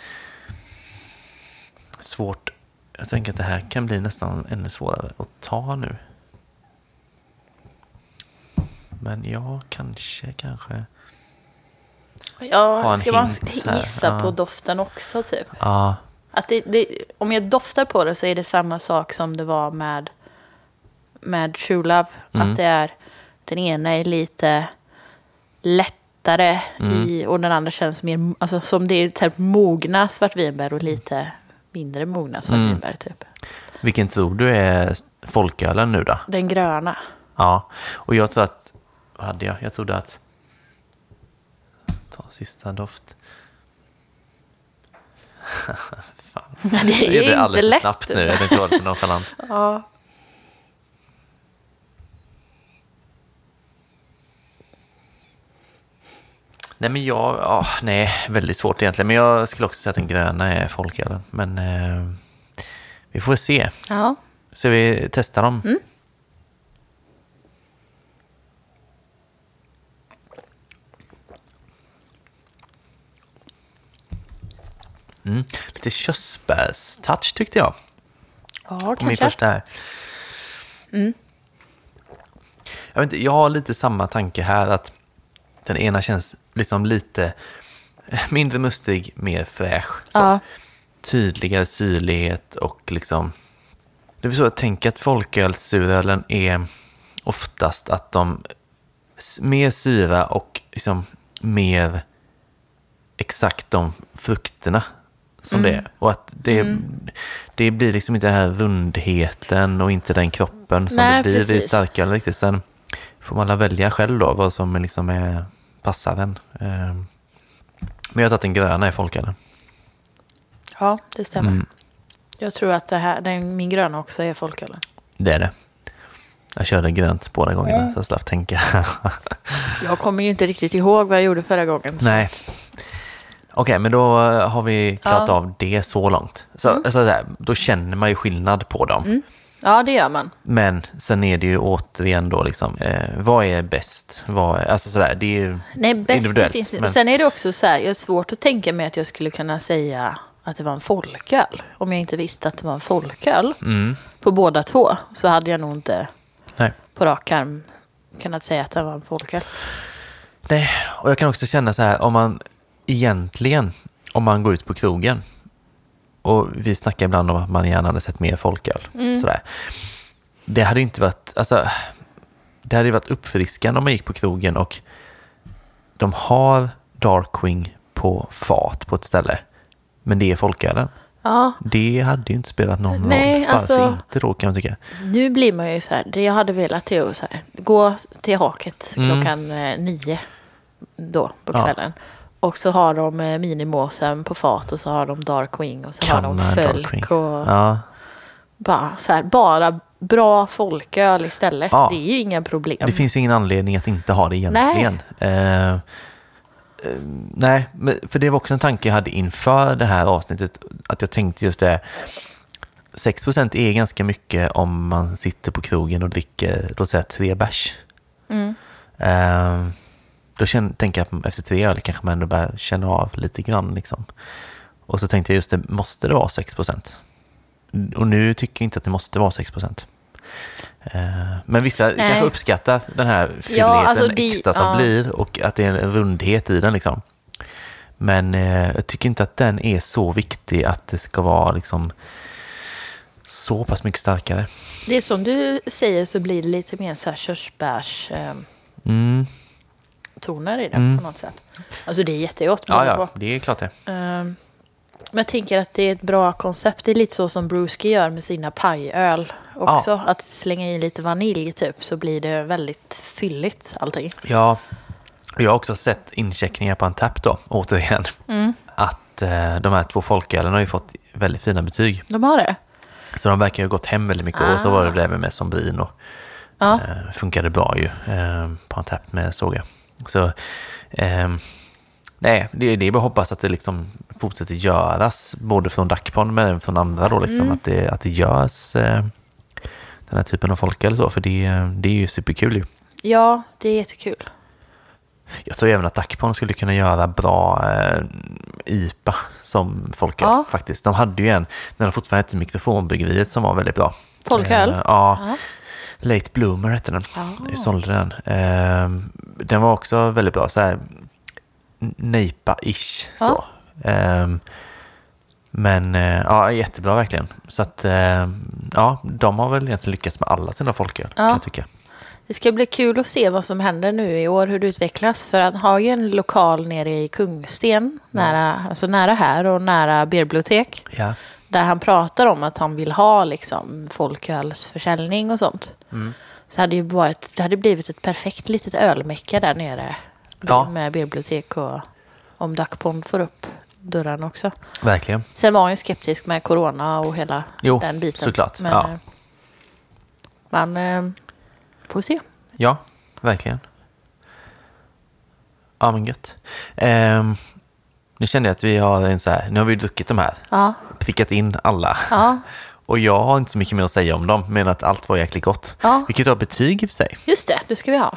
S1: svårt. Jag tänker att det här kan bli nästan ännu svårare att ta nu. Men ja, kanske, kanske. Ha
S2: ja
S1: en
S2: ska man
S1: hint här.
S2: gissa på
S1: Ja.
S2: doften också typ?
S1: Ja,
S2: Att det, det, om jag doftar på det så är det samma sak som det var med, med True Love.
S1: Mm.
S2: Att det är, den ena är lite lättare
S1: Mm.
S2: i, och den andra känns mer, alltså som det är typ mogna svartvinbär och lite mindre
S1: Mm.
S2: mogna svartvinbär typ.
S1: vilken tror du är folkölen nu då?
S2: Den gröna.
S1: Ja, och jag tror att... Vad hade jag? Jag trodde att... Ta sista doft. Fan.
S2: Det
S1: Jag
S2: är,
S1: gjorde
S2: ju inte
S1: alldeles för
S2: lätt.
S1: snabbt nu. Jag tänkte vara lite nonchalant.
S2: Ja.
S1: Nej, men jag... ja nej, väldigt svårt egentligen. Men jag skulle också säga att den gröna är folkölen. Men eh, vi får se.
S2: ja.
S1: Så vi testar dem.
S2: Mm.
S1: Mm. Lite körsbärstouch tyckte jag.
S2: Ja,
S1: På min
S2: kanske. Mm.
S1: första här. Jag, vet inte, jag har lite samma tanke här att den ena känns liksom lite mindre mustig, mer fräsch. Så.
S2: Ja.
S1: Tydligare syrlighet och liksom... Det är väl så jag tänker att folkölssurölen är oftast att de s- mer syra och liksom mer exakt de frukterna som
S2: Mm.
S1: det är. Och att det, det blir liksom inte den här rundheten och inte den kroppen som
S2: Nej,
S1: det blir i
S2: precis.
S1: starköl riktigt. Sen får man alla välja själv då vad som liksom är, passar den. Ehm, Men jag har tagit den gröna i folkölen.
S2: ja, det
S1: Mm.
S2: stämmer. Jag tror att det här, den, min gröna också är folkölen.
S1: Det är det. Jag körde grönt båda gångerna så jag slapp tänka.
S2: Jag kommer ju inte riktigt ihåg vad jag gjorde förra gången.
S1: Nej. Okej, men då eh, har vi klarat av det så långt. Så, så där, då känner man ju skillnad på dem.
S2: Ja, det gör man.
S1: Men sen är det ju återigen då liksom, eh, vad är bäst? Vad är, alltså sådär, det är ju
S2: Nej, bäst det
S1: individuellt.
S2: finns inte.
S1: men-
S2: Sen är det också så här, jag har svårt att tänka mig att jag skulle kunna säga att det var en folköl. Om jag inte visste att det var en folköl på båda två så hade jag nog inte
S1: mm, nej.
S2: på rak arm kunnat säga att det var en folköl.
S1: Nej, och jag kan också känna så här, om man egentligen, om man går ut på krogen och vi snackar ibland om att man gärna hade sett mer folköl.
S2: Mm.
S1: Sådär. Det hade ju inte varit, alltså, det hade ju varit uppfriskande om man gick på krogen och de har Darkwing på fat på ett ställe, men det är folkölen.
S2: Ja,
S1: Det hade ju inte spelat någon
S2: Nej,
S1: roll. Varför
S2: alltså-
S1: inte då kan jag tycka.
S2: nu blir man ju så här, det jag hade velat är att så här, gå till haket klockan eh, nio då på
S1: Mm. Ja.
S2: kvällen. Och så har de eh, minimåsen på fat och så har de Darkwing och så har de
S1: Kanna Darkwing.
S2: fölk och
S1: Ja,
S2: bara, så här, bara bra folköl istället.
S1: Ja.
S2: Det är ju inga problem.
S1: Det finns ingen anledning att inte ha det egentligen. Eh, eh, nej, men- för det var också en tanke jag hade inför det här avsnittet. Att jag tänkte just det. 6% är ganska mycket om man sitter på krogen och dricker, låt säga tre bärs.
S2: Mm.
S1: Eh, då känner, tänker jag att efter tre öl kanske man ändå börjar känna av lite grann. Liksom. Och så tänkte jag just det, måste det vara 6%? Och nu tycker jag inte att det måste vara 6%. Eh, Men vissa kanske uppskattar den här fylligheten
S2: alltså det-
S1: extra som
S2: ja.
S1: blir och att det är en rundhet i den. Liksom. Men eh, jag tycker inte att den är så viktig att det ska vara liksom, så pass mycket starkare.
S2: Det är som du säger så blir det lite mer så här körsbärs... Eh,
S1: Mm.
S2: toner i det på något sätt. Alltså det är jättegott.
S1: Ja,
S2: båda
S1: ja,
S2: två.
S1: det är klart det.
S2: Ehm, men jag tänker att det är ett bra koncept. Det är lite så som Brewski gör med sina pajöl också. Att slänga i lite vanilj typ så blir det väldigt fylligt allting.
S1: Ja, jag har också sett incheckningar på en tapp då, återigen.
S2: Mm,
S1: Att eh, de här två folkölen har ju fått väldigt fina betyg.
S2: De har det?
S1: Så de verkar ju ha gått hem väldigt mycket. Och så var det det även med Sombrin och
S2: Ja.
S1: eh, funkade bra ju eh, på en tapp med såg jag. Så, ehm, nej, det, det är bara att hoppas att det liksom fortsätter göras, både från Dacpon men även från andra då, liksom, att, det, att det görs eh, den här typen av folköl så, för det, det är ju superkul ju.
S2: Ja, det är jättekul.
S1: Jag tror även att Dacpon skulle kunna göra bra eh, IPA som folköl
S2: Ja.
S1: faktiskt. De hade ju en, när de fortfarande hette Mikrofonbryggeriet, som var väldigt bra.
S2: Folköl?
S1: Eh, ja.
S2: Ja.
S1: Late Bloomer hette den.
S2: Ja.
S1: Jag sålde den. Eh, den var också väldigt bra, så här n- nejpa-ish. Så. Eh, men eh, ja, jättebra verkligen. Så att eh, ja, de har väl egentligen lyckats med alla sina folköl kan jag tycka.
S2: Det ska bli kul att se vad som händer nu i år, hur det utvecklas. För han har ju en lokal nere i Kungsten, nära, alltså nära här och nära bibliotek.
S1: Ja.
S2: Där han pratar om att han vill ha liksom, folkölsförsäljning och sånt.
S1: Mm.
S2: Så hade ju varit, det hade blivit ett perfekt litet ölmecka där nere.
S1: Ja.
S2: Med bibliotek och om Dacpond får upp dörrarna också.
S1: Verkligen.
S2: Sen var han ju skeptisk med corona och hela
S1: Jo,
S2: den biten.
S1: såklart.
S2: Men
S1: Ja.
S2: eh, man eh, får se.
S1: Ja, verkligen. Ja, men gött. Ehm, nu kände jag att vi har en så här, nu har vi druckit de här,
S2: Ja.
S1: prickat in alla.
S2: Ja.
S1: Och jag har inte så mycket mer att säga om dem, men att allt var jäkligt gott.
S2: Ja.
S1: Vi kan ju ta betyg i och för sig.
S2: Just det, det ska vi ha.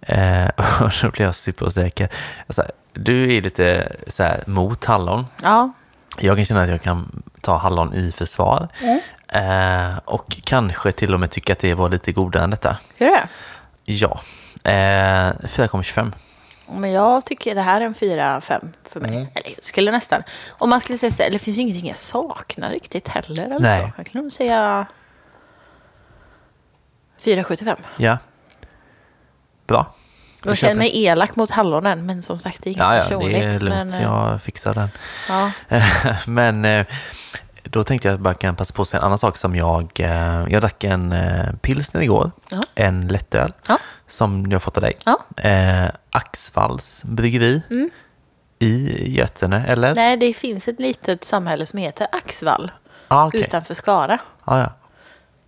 S1: Ehm, och då blir jag superosäker. Alltså, du är lite så här, mot hallon.
S2: Ja,
S1: Jag kan känna att jag kan ta hallon i försvar.
S2: Mm.
S1: Ehm, och kanske till och med tycka att det var lite godare än detta.
S2: gör det.
S1: Ja. Ehm, 4,25.
S2: Men jag tycker det här är en 4-5 för mig. Eller jag skulle nästan... Om man skulle säga så här, det finns ju ingenting jag saknar riktigt heller. Eller
S1: Nej.
S2: Så. Jag kan nog säga 4,75.
S1: Ja. Bra.
S2: Jag känner mig elak mot hallonen, men som sagt, det är inget
S1: Ja, ja, det
S2: personligt.
S1: är lugnt.
S2: Men, eh,
S1: Jag fixar den.
S2: ja.
S1: Men eh, då tänkte jag att jag bara kan passa på att säga en annan sak som jag... eh, Jag drack en eh, pilsner igår,
S2: Ja.
S1: en lättöl,
S2: Ja.
S1: som jag fått av dig.
S2: Ja. Mm.
S1: Eh, Axvalls bryggeri i Götene, eller?
S2: Nej, det finns ett litet samhälle som heter Axvall
S1: Ah, okej.
S2: utanför Skara.
S1: Ah, ja.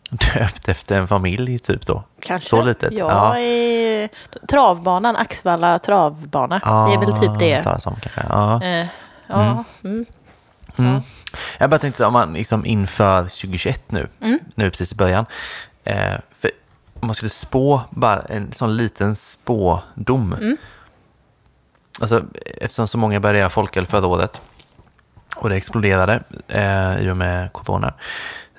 S1: Döpt efter en familj typ då?
S2: Kanske.
S1: Så litet?
S2: Ja, i travbanan, Axvalla travbana.
S1: Ja.
S2: Det är väl typ
S1: Ah,
S2: det.
S1: talas om, kanske. Ja.
S2: Eh, ja, mm.
S1: Mm. Jag bara tänkte om man liksom inför 2021 nu, nu precis i början. Eh, för om man skulle spå bara en sån liten spådom. Alltså, eftersom så många började göra folköl förra året och det exploderade eh, i och med corona.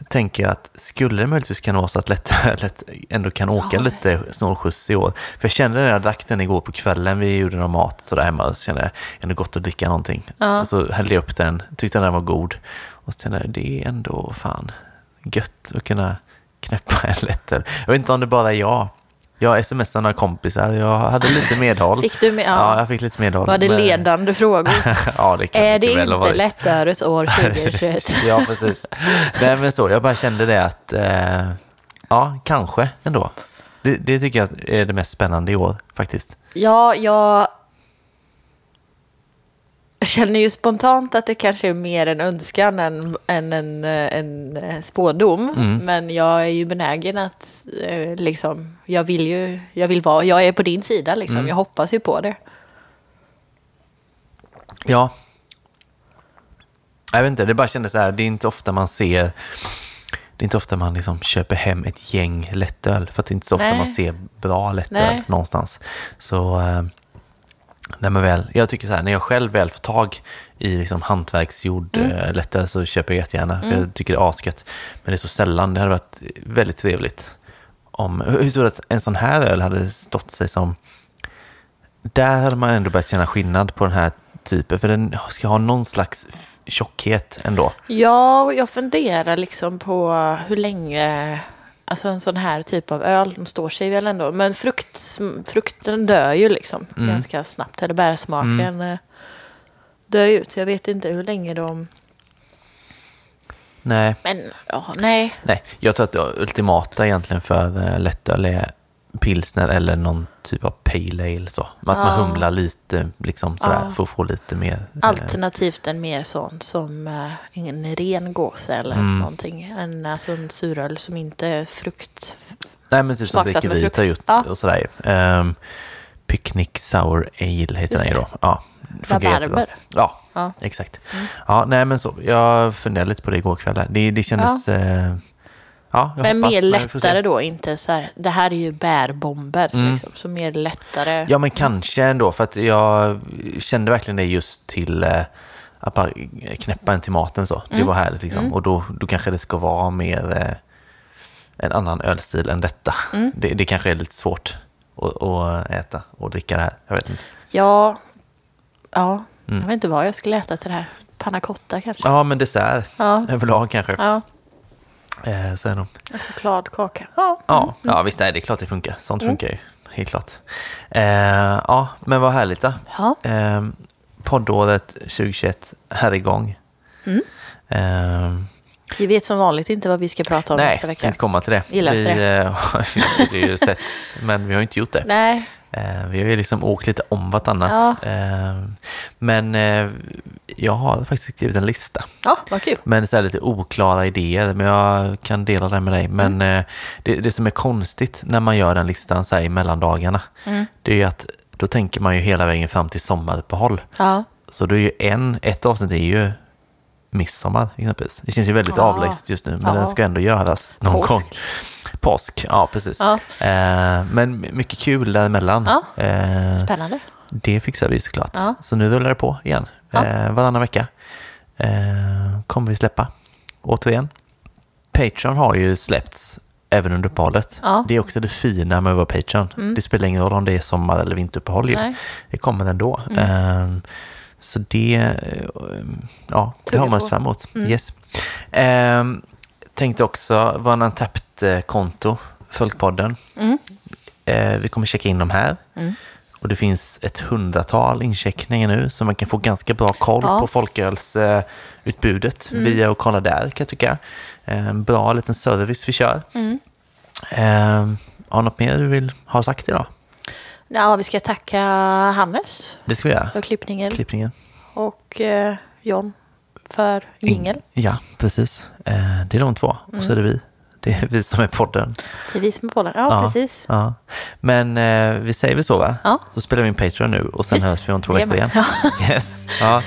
S1: Tänker jag att skulle det möjligtvis kunna vara så att lättölet ändå kan åka
S2: Ja.
S1: lite snålskjuts i år. För jag kände när jag drack den igår på kvällen, vi gjorde någon mat sådär hemma, så kände jag ändå gott att dricka någonting. Och så hällde jag upp den, tyckte den var god. Och så tänkte jag, det är ändå fan gött att kunna knäppa en lättöl. Jag vet inte om det bara är jag. Jag smsade några kompisar, jag hade lite medhåll.
S2: Fick du med- ja.
S1: ja, jag fick lite medhåll.
S2: Var det
S1: men-
S2: ledande frågor?
S1: ja, det kan
S2: Är det
S1: mycket väl ha
S2: inte
S1: varit.
S2: lättörets år 2021?
S1: ja, precis. Nej, men så. Jag bara kände det att, eh, ja, kanske ändå. Det, det tycker jag är det mest spännande i år, faktiskt.
S2: Ja, jag känner ju spontant att det kanske är mer en önskan än, än en, eh, en eh, spådom.
S1: Mm.
S2: Men jag är ju benägen att eh, liksom, jag vill ju, jag vill vara, jag är på din sida liksom.
S1: Mm.
S2: Jag hoppas ju på det.
S1: Ja. Jag vet inte, det bara kändes så här, det är inte ofta man ser det är inte ofta man liksom köper hem ett gäng lättöl, för att det är inte så ofta
S2: Nej.
S1: man ser bra lättöl
S2: Nej.
S1: någonstans. Så, eh, nej men väl, jag tycker så här, när jag själv väl får tag i liksom hantverksgjord mm. lättöl så köper jag jättegärna, för jag tycker det är asgött. Men det är så sällan, det hade varit väldigt trevligt om, hur tror du att en sån här öl hade stått sig som där hade man ändå börjat känna skillnad på den här typen, för den ska ha någon slags f- tjockhet ändå.
S2: Ja, och jag funderar liksom på hur länge alltså en sån här typ av öl, de står sig väl ändå. Men frukt, frukten dör ju liksom
S1: Mm.
S2: ganska snabbt. Eller bärsmaken eh, dör ju ut. Så jag vet inte hur länge de...
S1: Nej,
S2: Men ja, nej.
S1: nej. jag tror att det ultimata egentligen för eh, lättöl är pilsner eller någon typ av pale ale. Så. Att man humlar lite liksom, sådär, för att få lite mer. eh,
S2: Alternativt en mer sån som eh, ingen ren gås eller
S1: Mm.
S2: någonting. En, alltså en suröl som inte är frukt.
S1: Nej, men typ som
S2: Smaksatt med
S1: Drickevit har
S2: frukt.
S1: gjort.
S2: Ja.
S1: Och sådär. Um, Picnic Sour Ale heter den ju då. Ja, funkar
S2: Rabarber.
S1: jättebra. Ja,
S2: Ja. Mm.
S1: exakt. Ja, nej men så. Jag funderade lite på det igår kväll. här. Det, det kändes... Ja. ja, jag
S2: Men
S1: hoppas,
S2: mer
S1: men vi får se. Mm.
S2: lättare då, inte så här, det här är ju bärbomber liksom. Så mer lättare.
S1: Ja, men kanske ändå. För att jag kände verkligen det just till eh, att bara knäppa en till maten. så. Det var härligt. Liksom. Och då, då kanske det ska vara mer eh, en annan ölstil än detta. Det, det kanske är lite svårt att, att äta och dricka det här. Jag vet inte.
S2: Ja, ja. jag vet inte vad jag skulle äta till det här. Panna cotta kanske?
S1: Ja, men dessert
S2: Ja.
S1: överlag kanske.
S2: Ja,
S1: Eh, så är det nog.
S2: en chokladkaka. Ja.
S1: Ja, ja visst är det klart det funkar. Sånt funkar ju. Helt klart. Eh, ja, men vad härligt då.
S2: Ja.
S1: Eh, poddåret 2021 här igång.
S2: Mm.
S1: Eh,
S2: Vi vet som vanligt inte vad vi ska prata om
S1: nej,
S2: nästa vecka.
S1: tänkte komma till det.
S2: Vi löser
S1: vi, eh, vi har ju sett, men vi har inte gjort det.
S2: Nej,
S1: Eh, vi har ju liksom åkt lite om vartannat.
S2: Ja.
S1: Eh, men eh, jag har faktiskt skrivit en lista.
S2: ja, vad kul.
S1: Men så här lite oklara idéer, men jag kan dela det med dig.
S2: Mm.
S1: Men eh, det, det som är konstigt när man gör den listan så här i mellandagarna,
S2: Mm.
S1: det är ju att då tänker man ju hela vägen fram till sommaruppehåll.
S2: Ja.
S1: Så det är ju en, ett avsnitt är ju midsommar exempelvis. Det känns ju väldigt
S2: Ja.
S1: avlägset just nu, men
S2: Ja.
S1: den ska ändå göras någon
S2: Påsk.
S1: gång. Påsk, ja precis.
S2: Ja.
S1: Eh, men mycket kul däremellan.
S2: Ja.
S1: Eh,
S2: Spännande.
S1: det fixar vi ju såklart.
S2: Ja.
S1: Så nu rullar det på igen.
S2: Ja.
S1: Eh, varannan vecka eh, kommer vi släppa. Återigen. Patreon har ju släppts även under uppehållet.
S2: Ja. Mm.
S1: Det är också det fina med att vara Patreon. Det spelar ingen roll om det är sommar eller vinteruppehåll. ju.
S2: Nej.
S1: Det kommer ändå.
S2: Mm.
S1: Eh, så det, eh, ja, det
S2: Tugga
S1: har man
S2: på. Mm.
S1: sig fram emot. Yes. Eh, tänkte också, vår Untapped-konto, eh, Folkpodden.
S2: Mm.
S1: Eh, vi kommer checka in dem här. Och det finns ett hundratal incheckningar nu, så man kan få ganska bra koll
S2: Ja. Mm.
S1: på folkölsutbudet eh, utbudet via att kolla där, kan jag tycka. Eh, En bra liten service vi kör.
S2: Mm.
S1: Eh, har något mer du vill ha sagt idag?
S2: Ja, vi ska tacka Hannes
S1: Det ska vi göra.
S2: för klippningen
S1: Klippningen.
S2: och eh, John för jingel. Mm.
S1: Ja, precis. Eh, det är de två. Och så är det vi Det är vi som är podden.
S2: Det är vi som är bollen. Ja,
S1: Ja.
S2: precis.
S1: Ja. Men eh, vi säger väl så va?
S2: Ja.
S1: Så spelar vi in Patreon nu och sen
S2: Just det.
S1: hörs vi om två
S2: Det är
S1: veckor igen.
S2: med. Ja.
S1: Yes. Ja.